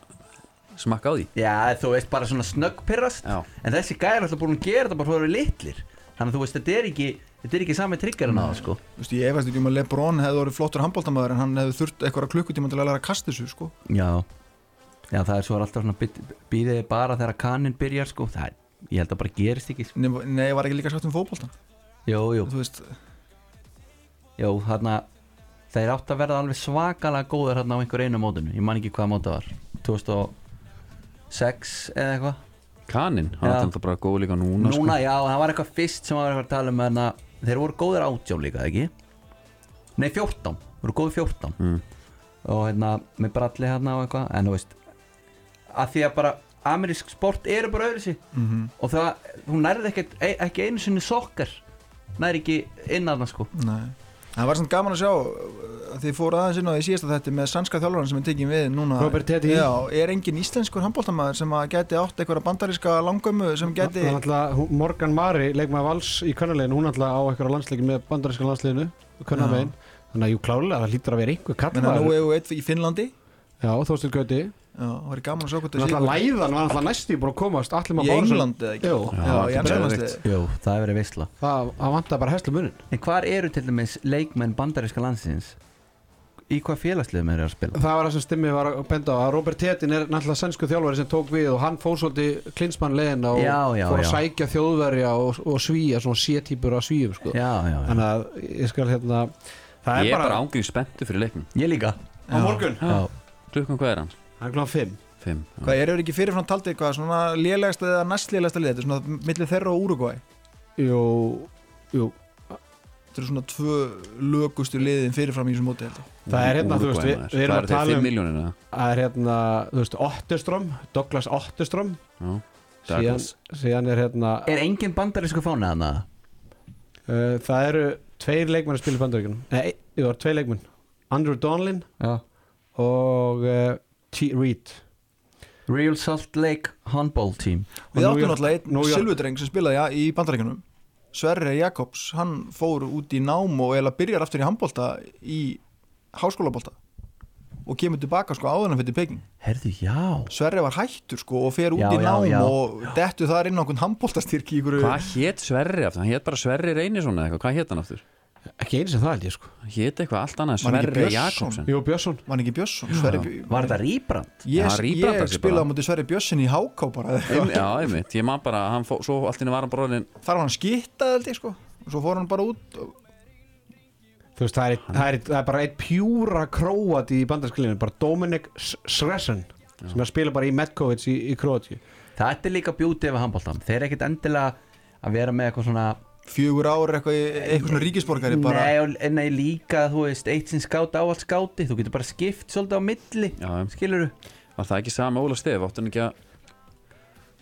C: smakka á því
B: Já, þú veist bara svona snöggpirrast
C: Já.
B: en þessi gæjar er alltaf búin að gera þetta bara fyrir litlir þannig að þú veist, þetta er ekki, þetta er ekki sami triggerinn á það sko
D: Þú veist, ég efast ekki um að Lebron hefði orðið flottur handbóltamæður en hann hefði þurft eitthvað klukkutíma til að læra að kasta þessu sko.
B: Já Já það er svo alltaf svona býðið bara þegar kaninn byrjar sko það, er- Ég held að bara gerist ekki sko.
D: Nei, nei, var ekki líka sagt um fótbóltan
B: Jó, jú,
D: Þú veist,
B: jú, þarna Það er átt að verða alveg svakalega góður þarna á einhver einu mótinu Ég man ekki hvaða móta var 2006 eða eitthvað
C: kanin, hann
B: Já.
C: er þetta bara góð líka núna, sko.
B: Núna já, það var sko- eitthvað fyrst sem var eitthvað að tala um þarna Þeir voru góðir átján líka, ekki? Nei, 14, voru góðir 14
C: Mm.
B: Og hérna, með bralli hérna og eitthvað En þú veist Að því að bara, amerísk sport eru bara öðru
A: Mhm.
B: Og það, hún nærði ekkert, e ekki einu sinni sokkar Nærði ekki inn að það sko
D: nei Það var samt gaman að sjá uh, að þið fóru aðeins inn á því síðasta þetta með sannska þjálfarinn sem er tekinn við núna
A: Robert Teddy.
D: Já, er engin íslenskur handbóltamæður sem að geti átt eitthvað bandaríska langömmu sem geti
A: Hún alltaf, hún- Morgan Mari, leikmaður Vals í kvönnulegin, hún alltaf á eitthvað landsleikin með bandarinska landsliðinu, kvönnamegin Þannig að jú klálega, það lítur að vera einhver
D: Menna nú
A: kallar
D: hefur eitt í Finnlandi
A: Já, Þórstil Gauti
D: Já, það var gaman að sjá hvort
A: Þannig að læðan var alltaf næstu búin að komast Allir
D: Í
A: maður
D: England eða ekki
A: Jú,
D: Já, í England
B: Jú, það er verið veisla
A: það, það vantar bara heslu munin
B: En hvar eru til dæmis leikmenn bandaríska landsins Í hvað félagsliðum eru að spila?
A: Það var það sem Stimmi var að benda á að Robert Tetin er náttúrulega sannsku þjálfari sem tók við og hann fór svolítið klinsmann leðina og
B: Já, já,
A: fór að
B: já.
A: sækja þjóðverja og, og svíja, svona sétýpur af svíjum sko.
B: Já, já, já
A: þannig að ég skal hérna það er
C: ég er bara
A: bara,
C: ángríð spenntu fyrir leiknum
B: Ég líka
A: á morgun
B: Já,
C: klukkan hvað er hann?
A: hann er kláðan 5
C: 5 já.
D: Hvað, eru ekki fyrirfram taldið hvað, svona lélegasta eða næstlélegasta lið, þetta er svona millir þeirra og Úrugvæ
A: jú, jú,
D: Þetta eru svona tvö lögustu liðin fyrirfram í þessu móti held ég.
A: það er hérna, þú veist, við,
C: Úrugvæmaður.
A: við erum að
C: Hvað eru þeir,
A: tala
C: 5
A: um
C: miljónir eða?
A: það er hérna, þú veist, Ottestrom Douglas Ottestrom
C: Já.
A: síðan,
C: Douglas.
A: síðan er hérna
B: Er engin bandarísku fána þarna?
A: uh, það eru tveir leikmenn að spila í bandaríkunum nei, jú, það eru tveir leikmenn Andrew Donlin
B: Já
A: og uh, T Reed
B: Real Salt Lake Handball Team
A: Og
D: Við
A: New
D: áttum
A: York-
D: náttúrulega einn
A: New York-
D: silfurdreng sem spilaði ja, í bandarækjunum Sverre Jakobs, hann fór út í nám og eiginlega byrjar aftur í handbólta í háskólabólta og kemur tilbaka sko áður en fyrir Peking
B: Herðu, já
D: Sverre var hættur sko og fer út
B: Já,
D: í
B: já,
D: nám
B: já.
D: og dettu þar inn á einhvern handbóltastyrk í ykkur
C: Hvað hétt Sverri aftur? Hann hétt bara Sverri Reynisson eða eitthvað, hvað hétt hann aftur?
A: Ekki eins og það held ég sko
C: Hann hétt eitthvað allt annað,
D: Var hann ekki
C: Sverri
D: Björnsson?
C: Jakobsen
A: Jó Björnsson
D: Var hann ekki Björnsson? Sverri Björnsson
B: Var þetta rýbrand?
D: Ég,
C: hann
D: ég,
C: rýbrandar sig
D: spilaði á
C: bara.
D: móti Sverri Björnsson í háká bara eða
C: Einmi- Já, einmitt, ég man bara, að hann fó, svo allt inni var hann bróðin
D: Þar var hann skittað held ég sko og svo fór hann bara út og-
A: Þú veist, það er, það er, það er bara eitt pjúra króat í bandarskilinu bara Dominik S- Sresen sem að spila bara í Metkovic í, í Kroatíu
B: Þetta er líka bjútið við handbóltan Þeir er ekkert endilega að vera með eitthvað svona
D: fjögur ár eitthvað, í- eitthvað svona ríkisborgari bara
B: Nei, og- nei, líka, þú veist, eitt sinn skáta á allt skáti Þú getur bara skipt svolítið á milli
C: Já,
B: Skilurðu?
C: var það ekki sama Óla Stef, átti hann ekki að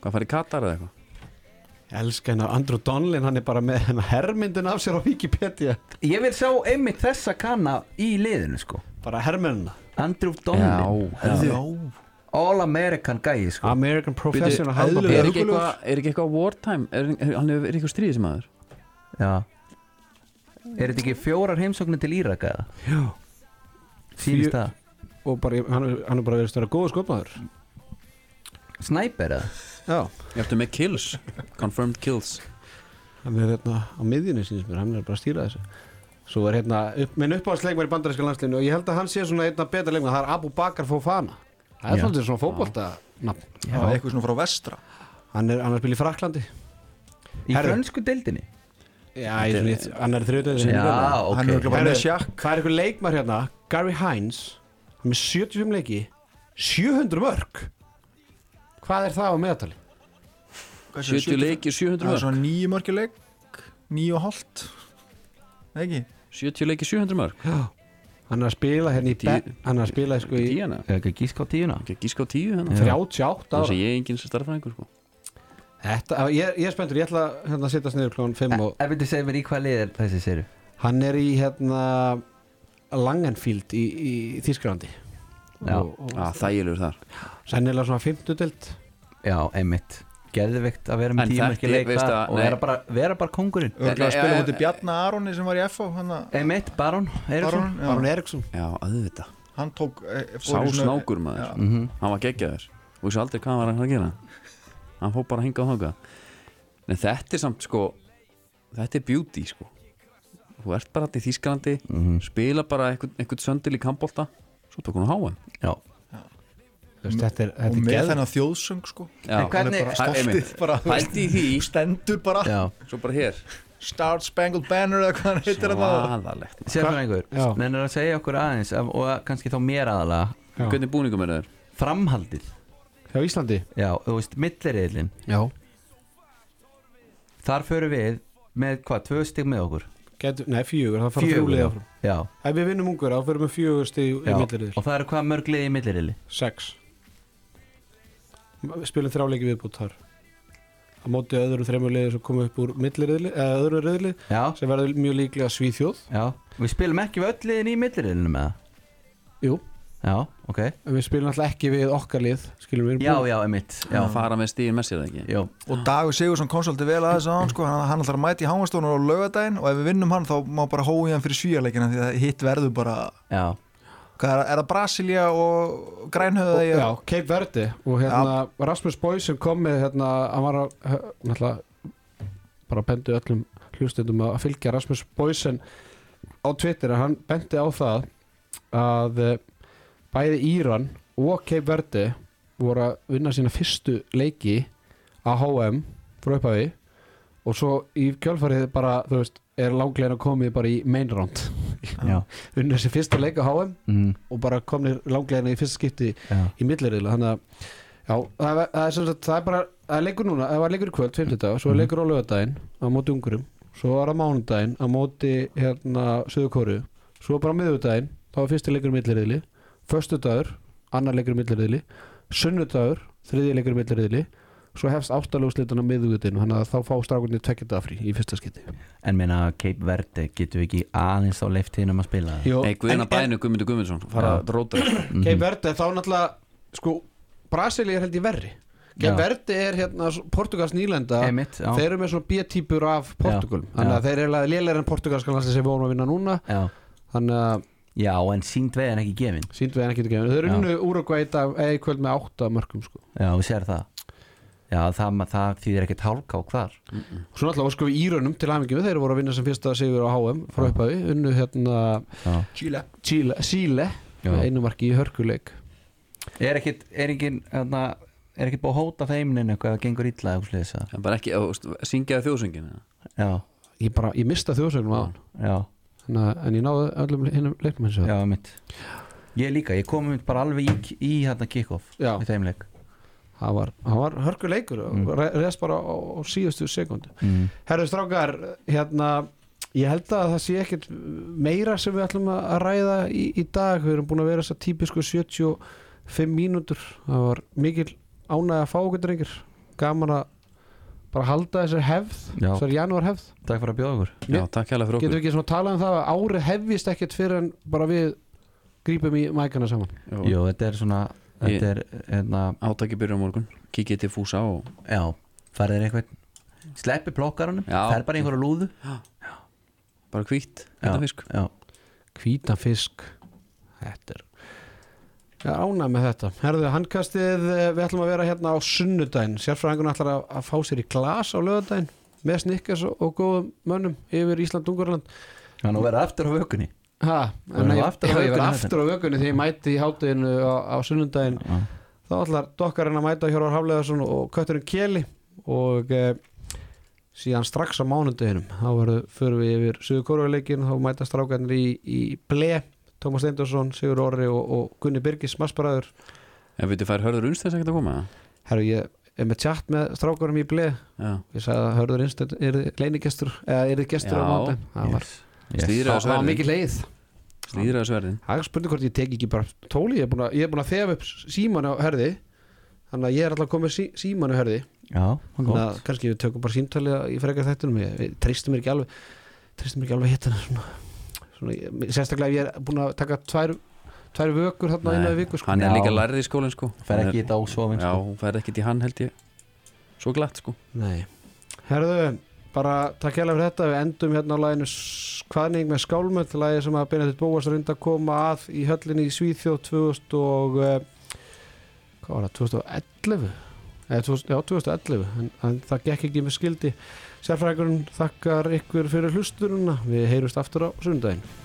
C: hvað farið Katar eða eitthvað?
A: Elska hennar Andrew Donlin, hann er bara með hennar hermyndin af sér á Wikipedia
B: Ég vil sjá einmitt þessa kanna í liðinu, sko
A: bara hermyndina
B: Andrew Donlin
C: Já, já.
D: Já,
B: All American gæi, sko
A: American Professional
C: Bíddu,
A: Handball
C: Er
A: Player.
C: ekki eitthvað, er ekki eitthvað wartime, er, er, hann er, er eitthvað stríðið sem aður?
B: Já Er þetta ekki fjórar heimsóknir til Íraka eða?
A: Já.
B: Sýnist
A: Fjö-
B: það?
A: og bara, hann, er- hann er bara verið störa góða skopaður
B: Snæper eða?
A: já
C: Ég ættu með kills, confirmed kills
A: hann er hérna á miðjunni sínist mér, hann er bara að stýra þessu svo er hérna, upp, minn uppáhaldsleikmar í bandaríska landslinu og ég held að hann sé svona einna betra leikmar það er Abu Bakar Fofana það er
B: Já.
A: svolítið svona fótbolta nafn
D: það var eitthvað svona frá vestra
A: hann er, hann er að spila í Fraklandi
B: Í
A: Herru.
B: frönsku deildinni?
A: já, ég, ég, hann er þriðutöðin
B: Já,
D: Hann er
B: ok
D: örugglega bara með sjakk
A: það er einhver leikmar hérna Gary Hines, hann er með 75 leiki 700 mörg hvað er það á meðatali?
C: 70 leiki, 700
D: Það er
C: mörg
D: svona nýju mörki leik Nýju og hálft Nei, ekki
C: 70 leiki, 700 mörg
A: hann er að spila hérna í
C: Tíu-
A: Be- hann er að spila sko í
C: Tíana,
B: Eða ekki að gíska á tíuna?
C: ekki að gíska á tíu hérna
A: 38
C: Það
A: ára
C: sé ég er enginn sem starfræðingur sko
A: Þetta, á, ég, ég er spenntur, ég ætla hérna, að setja sniður klón 5 og
B: Ef við segir mér í hvað lið er þessi séru?
A: hann er í hérna Langenfield í, í Þísklandi
B: Já.
A: og, og
C: ah, Þægilegur þar
A: sennilega svona 50 delt
B: Já, einmitt Geðvikt að vera
C: En
B: með tíum
C: þetta
B: ekki
C: er-
B: leika
C: veist að-
B: og
C: nei.
B: vera bara, vera bara kongurinn
D: Örgulega
C: Nei,
D: að spila
C: eh,
D: mútið Bjarna Aroni sem var í FO Hann, að-
B: Einmitt, Baron Eiríksson
D: Aron, já.
A: Baron Eriksson
C: Já, auðvitað
D: hann tók eh, fór í
C: Sá
D: svona-
C: snákur maður
D: Já.
B: Mhm.
C: Hann var geggjaður Og ég svo aldrei hvað var hann að gera Hann fór bara að hinga á þáka En þetta er samt sko Þetta er beauty sko Þú ert bara alltaf í Þýskalandi
B: Mhm.
C: Spila bara einhvern, einhvern söndil í kampolta Svo tók hún á háan
B: Já
A: Þú veist, þetta er,
D: Og
A: þetta er
D: með
A: geð
D: þennan þjóðsöng sko
B: En
C: Já,
B: hvað- Hvernig-
D: Hann er bara
C: Það er
D: stoltið
C: einmitt.
D: bara
C: pældi í því
D: Stendur bara
B: Já
C: Svo bara hér
D: Star Spangled Banner eða hvað hann heitir að
C: Svaðalegt
B: Sérfræðingur,
A: Já.
B: nennir að segja okkur aðeins af- og að- kannski þá mér aðalega
A: Já.
C: Hvernig búningum er það?
B: framhaldið
A: hjá Íslandi
B: Já, þú veist, milliriðlin
A: Já,
B: Þar förum við með hvað, tvö stig með okkur
A: Getu, nei fjögur, það fara
B: Fjögur,
A: þrjúlið
B: já.
A: áfram
B: Já,
A: Ef við vinnum ungur, þá fyrir við fjögur stig í
B: já.
A: milliriðil
B: Og það eru hvað mörg liði í milliriðli
A: 6 Við spilum þrjáleiki viðbútt þar á móti öðru þreymur liði sem kom upp úr milliriðli, eða öðru riðli
B: Já,
A: sem verður mjög líklega Svíþjóð
B: já Við spilum ekki við öll liðin í milliriðlinu með það
A: Jú,
B: Já, ok
A: En Við spilum alltaf ekki við okkar lið Skilum við
B: Já, já, emitt Já,
C: Að fara með stíðin með sér eða ekki
B: já,
D: Og Dagur Sigursson kom svolítið vel aðeins á hann sko Hann hann ætlar að mæta í Hámastónur á laugardaginn Og ef við vinnum hann þá má bara hói hann fyrir svíjarleikina Því að hitt verður bara
B: já
D: Hvað er, er það Brasilia og Grænhöða
A: og, Já, Cape Verde Og hérna Rasmus Boys sem kom með hérna, Hann var að hö- náttúrulega Bara bendi öllum hlustendum að fylgja Rasmus Boys en á Twitter að Hann bendi á það Að eh, bæði Íran Og Cape Verde voru að vinna sína fyrstu leiki Að HM frá upphafi Og svo í kjölfarið bara, þú veist, er langlegin að komið bara í main round.
B: Já,
A: Unna þessi fyrsta leika HM
B: mm,
A: og bara komnir langlegina í fyrsta skipti
B: já.
A: í millirriðla þannig að já, það, er- það, er, sem sagt, það er bara það er leikur núna, það var leikur í kvöld, 50 dag svo er leikur á lögadaginn á móti ungurum svo var það mánudaginn á móti hérna söðukóru, svo bara á miðugdaginn þá var fyrsti leikur í millirriðli föstudagur, annar leikur í millirriðli sunnudagur, þriðji leikur í millirriðli svo hefst áttalöguslitan á miðugdaginn þannig að þá fá strákunni tvekkinda frí í fyrsta skipti
B: En minna Cape Verde getum við ekki aðeins á leiftinum að spila það
A: Jó,
C: Nei, Guðina Bænu Guðmundur Guðmundsson Fara að róta
A: Cape Verde, þá náttúrulega sko, Brasili er held ég verri Verdi er hérna s- Portugals nýlenda
B: Einmitt, já.
A: Þeir eru með svona B-típur af Portugalum
B: Já,
A: Þannig
B: já.
A: að þeir eru lélæri en portugalska landslið sem við vorum að vinna núna
B: Já,
A: Þannig að
B: já en sínd veið en ekki gefin
A: síndum við enn ekki til gefinu Þeir eru
B: Já.
A: unnu Úrugvæ í dag eða í kvöld með átta mörgum sko.
B: Já, við sér það Já, það, það þýðir ekkert hálfkák þar
A: Og Svo náttúrulega sko írönum til hamingju Þeir voru að vinna sem fyrsta sigur á HM frá upphafi Unnu hérna
B: Já.
A: Chile, Chile, Chile
B: Já.
A: með einu marki í hörkuleik
B: Er ekkert, er engin, hérna Er ekkert búið að hóta feimnin eitthvað að gengur illa eða eitthvað slisa?
C: En bara ekki, þú veist, syngjaði þjóðsöngin eða?
B: Já,
A: Ég, bara, ég mista þjóðsögnum á hann
B: já,
A: En ég náði öllum hinnum leiknum hins vegar
B: já, mitt Ég líka, ég kom mitt bara alveg í, í hérna kickoff
A: Já.
B: í þeim leik
A: Það var, það var hörkuleikur mm. Reðst bara á, á síðustu sekundu
B: mm.
A: Herru strákar, hérna Ég held að það sé ekkert meira sem við ætlum að að ræða í, í dag Við erum búin að vera þess að típisku 75 mínútur Það var mikil ánægð að fá okkur drengir Gaman að bara halda þessari hefð
B: Já.
A: Þessari janúar hefð
B: Takk fyrir að bjóða okkur
C: Já, takk hérlega fyrir
A: Getum
C: okkur
A: við ekki svona talað um það að árið hefjist ekkert fyrir en bara við grípum í mækana saman
C: Jú.
B: Jú, þetta er svona,
C: Ég-
B: þetta er, hérna
C: Átaki byrja á morgun, kikið til fúsa og
B: Já, farðir eitthvað Sleppi plokkarunum,
C: Já.
B: fer bara í einhverju lúðu
C: bara hvítt,
B: Já,
C: þetta fisk
B: já.
A: hvítan fisk þetta er ég er ánægð með þetta herðu, handkastið, eh, við ætlum að vera hérna á sunnudaginn sérfræðingun ætlar að, að fá sér í glas á lögadaginn með snikkars og, og góðum mönnum yfir Ísland-Ungurland
B: Þannig að vera aftur á vökunni
A: ha,
B: Þú erum
A: en ég,
B: aftur á
A: já, ég
B: vökunni
A: var aftur á vökunni þegar ég mæti í hátteginu á, á sunnudaginn þá ætlar dokkarinn að mæta Hjörvar Hafleðarsson og kötturinn Kjeli og e, síðan strax á mánudeginum þá verður- förum við yfir Suður Kóruleikin þá mæta strákarnir í, í Ble Tómas Steindorsson, Sigur Orri og, og Gunni Birgis, massbræður
C: En veitir, fær hörður unnstæðs ekkert að koma? eða?
A: herru ég er með tjátt með strákarum í Ble
C: Já,
A: ég sagði að Hörður Innstedt er leinigestur eða er gestur á
C: Já.
A: mánudeginum það var,
C: Stýra
A: það var
C: sverðin
A: mikið leið
C: Slíðraði sverðin
A: það er spurning hvort ég tek ekki bara tóli ég er búin að, ég er búin að þefa upp síman á herði þannig að ég er alltaf komið sí, síman á herði
B: Já,
A: Þannig að kannski við tökum bara símtalið í frekar þættunum ég, ég treystum mér ekki alveg treystum mér ekki alveg hittina svona, svona, ég- sérstaklega ef ég er búin að taka tvær, tvær vökur þarna inn á
C: Nei,
A: viku sko.
C: Hann er
B: Já.
C: líka lærði í skólinn sko
B: Fer
C: Hann
B: ekki í
C: er-
B: þetta ósofin
C: Já,
B: sko.
C: hún fær ekkert í hann held ég Svo glatt sko
A: Nei. herðu bara takk hérlega fyrir þetta við endum hérna á læginu Skvaðning með skálmöld lægi sem að Benedikt Bóas reyndi að koma að í höllinni í Svíþjóð 2000 og eh, hvað var það, 2011 Eða, 2000 já, 2011 en, en það gekk ekki með skildi sérfræðingurinn þakkar ykkur fyrir hlustununa við heyrumst aftur á sundaginn